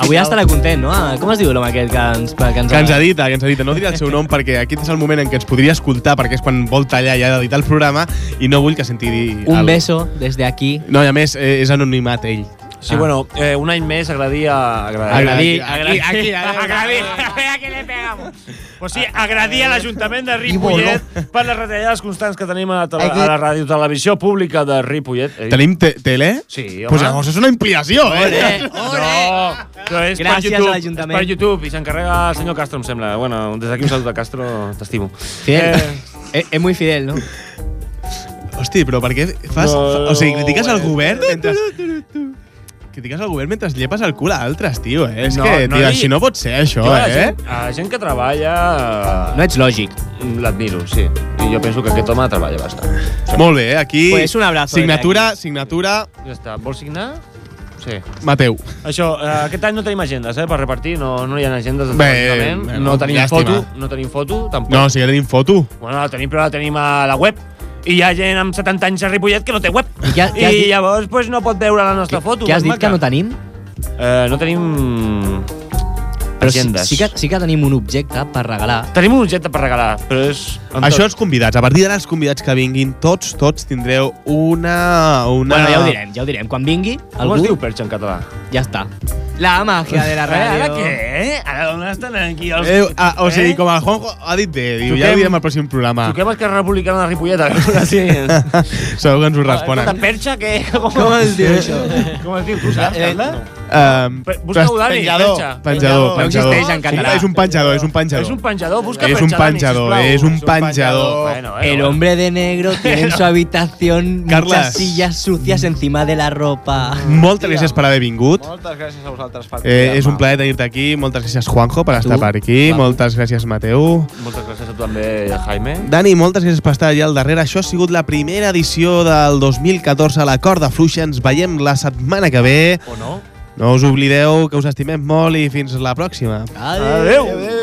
Speaker 2: Avui estarà content, no? Ah, Com es diu l'home aquest que ens, que ens,
Speaker 1: Que ens edita, que ens edita. No diré el seu nom perquè aquest és el moment en què ens podria escoltar perquè és quan vol tallar ja d'editar el programa i no vull que senti dir...
Speaker 2: Un
Speaker 1: el-
Speaker 2: beso desde aquí.
Speaker 1: No, i a més, eh, és anonimat ell.
Speaker 7: Sí, bueno, eh, un any més agradia...
Speaker 1: Agradir,
Speaker 7: agradir.
Speaker 1: aquí,
Speaker 7: agradir.
Speaker 5: que le pegamos.
Speaker 7: Pues sí, agradir a l'Ajuntament de Ripollet per les retallades constants que tenim a, la tele, a la ràdio televisió pública de Ripollet. Ei.
Speaker 1: Tenim te tele?
Speaker 7: Sí, home.
Speaker 1: Pues llavors és una ampliació, eh?
Speaker 7: No, però és
Speaker 2: Gràcies
Speaker 7: per YouTube,
Speaker 2: a l'Ajuntament.
Speaker 7: és Per YouTube, i s'encarrega el senyor Castro, em sembla. Bueno, des d'aquí un salut a Castro, t'estimo.
Speaker 2: Fidel. Eh, eh, muy fidel, ¿no?
Speaker 1: Hosti, però per què fas...
Speaker 7: No,
Speaker 1: o sigui, critiques el
Speaker 7: eh.
Speaker 1: govern mentre... Critiques el govern mentre llepes el cul a altres, tio, eh? És
Speaker 7: No,
Speaker 1: que,
Speaker 7: no
Speaker 1: tio,
Speaker 7: li-
Speaker 1: així no pot ser, això,
Speaker 7: Jo a la
Speaker 1: eh?
Speaker 7: Gent, a la gent que treballa... eh,
Speaker 2: No ets lògic.
Speaker 7: L'admiro, sí. I jo penso que aquest home treballa bastant.
Speaker 1: Molt bé, aquí...
Speaker 7: Pues un abrazo
Speaker 1: Signatura,
Speaker 7: desde
Speaker 1: signatura...
Speaker 7: Ja està. Vols signar? Sí.
Speaker 1: Mateu.
Speaker 7: Això, eh, aquest any no tenim agendes, eh, per repartir. No, no hi ha agendes de
Speaker 1: Bé,
Speaker 7: l'Ajuntament.
Speaker 1: bé,
Speaker 7: No tenim
Speaker 1: llàstima.
Speaker 7: foto, no tenim foto, tampoc.
Speaker 1: No, o sigui, ja tenim foto.
Speaker 7: Bueno, la tenim, però la tenim a la web. I hi ha gent amb 70 anys a Ripollet que no té web. I,
Speaker 2: què- què has dit?
Speaker 7: llavors pues, no pot veure la nostra foto.
Speaker 2: Què has dit
Speaker 7: maca.
Speaker 2: que no tenim?
Speaker 7: Eh, no tenim...
Speaker 2: Però sí,
Speaker 7: agendes.
Speaker 2: sí, que, sí que tenim un objecte per regalar.
Speaker 7: Tenim un objecte per regalar, però és... amb
Speaker 1: Això
Speaker 7: tot.
Speaker 1: els convidats. A partir d'ara, els convidats que vinguin, tots, tots tindreu una... una...
Speaker 2: Bueno, ja ho direm, ja ho direm. Quan vingui,
Speaker 7: Com es
Speaker 2: algú...
Speaker 7: diu perxa en català?
Speaker 2: Ja està. La màgia de la
Speaker 7: Eh,
Speaker 2: ràdio.
Speaker 7: ara què? Ara on estan aquí els...
Speaker 1: Eh, ah, o sigui, com el Juanjo ha dit bé, diu, ja ho direm al pròxim programa.
Speaker 7: Truquem a Esquerra Republicana de Ripollet. a
Speaker 2: Tota
Speaker 7: veure si-
Speaker 1: Segur que ens ho
Speaker 7: Escolta,
Speaker 1: responen.
Speaker 7: perxa, què?
Speaker 1: Com es diu això?
Speaker 7: Com es diu? Tu
Speaker 2: Eh,
Speaker 7: saps, Carla?
Speaker 1: Um,
Speaker 7: Pe- busca-ho, Dani,
Speaker 1: penjador,
Speaker 7: penja.
Speaker 1: penjador,
Speaker 7: Penjador. No
Speaker 1: penjador.
Speaker 7: existeix en català.
Speaker 1: És un penjador, és un penjador.
Speaker 7: És un penjador, busca
Speaker 1: És un
Speaker 7: perxa, Dani,
Speaker 1: penjador, eh,
Speaker 7: sisplau.
Speaker 1: és un penjador.
Speaker 7: Bueno,
Speaker 2: El hombre de negro tiene en su habitación
Speaker 1: Carles.
Speaker 2: muchas sillas sucias encima de la ropa.
Speaker 1: Moltes gràcies per haver vingut.
Speaker 8: Moltes gràcies a vosaltres per
Speaker 1: Eh, és un plaer tenir-te aquí. Moltes gràcies, Juanjo, per estar per aquí. Moltes gràcies, Mateu.
Speaker 7: Moltes gràcies a tu també, Jaime.
Speaker 1: Dani, moltes gràcies per estar allà al darrere. Això ha sigut la primera edició del 2014 a la Corda Fluixa. Ens veiem la setmana que ve.
Speaker 7: O no?
Speaker 1: No us oblideu que us estimem molt i fins la pròxima.
Speaker 2: Adeu.
Speaker 7: Adeu.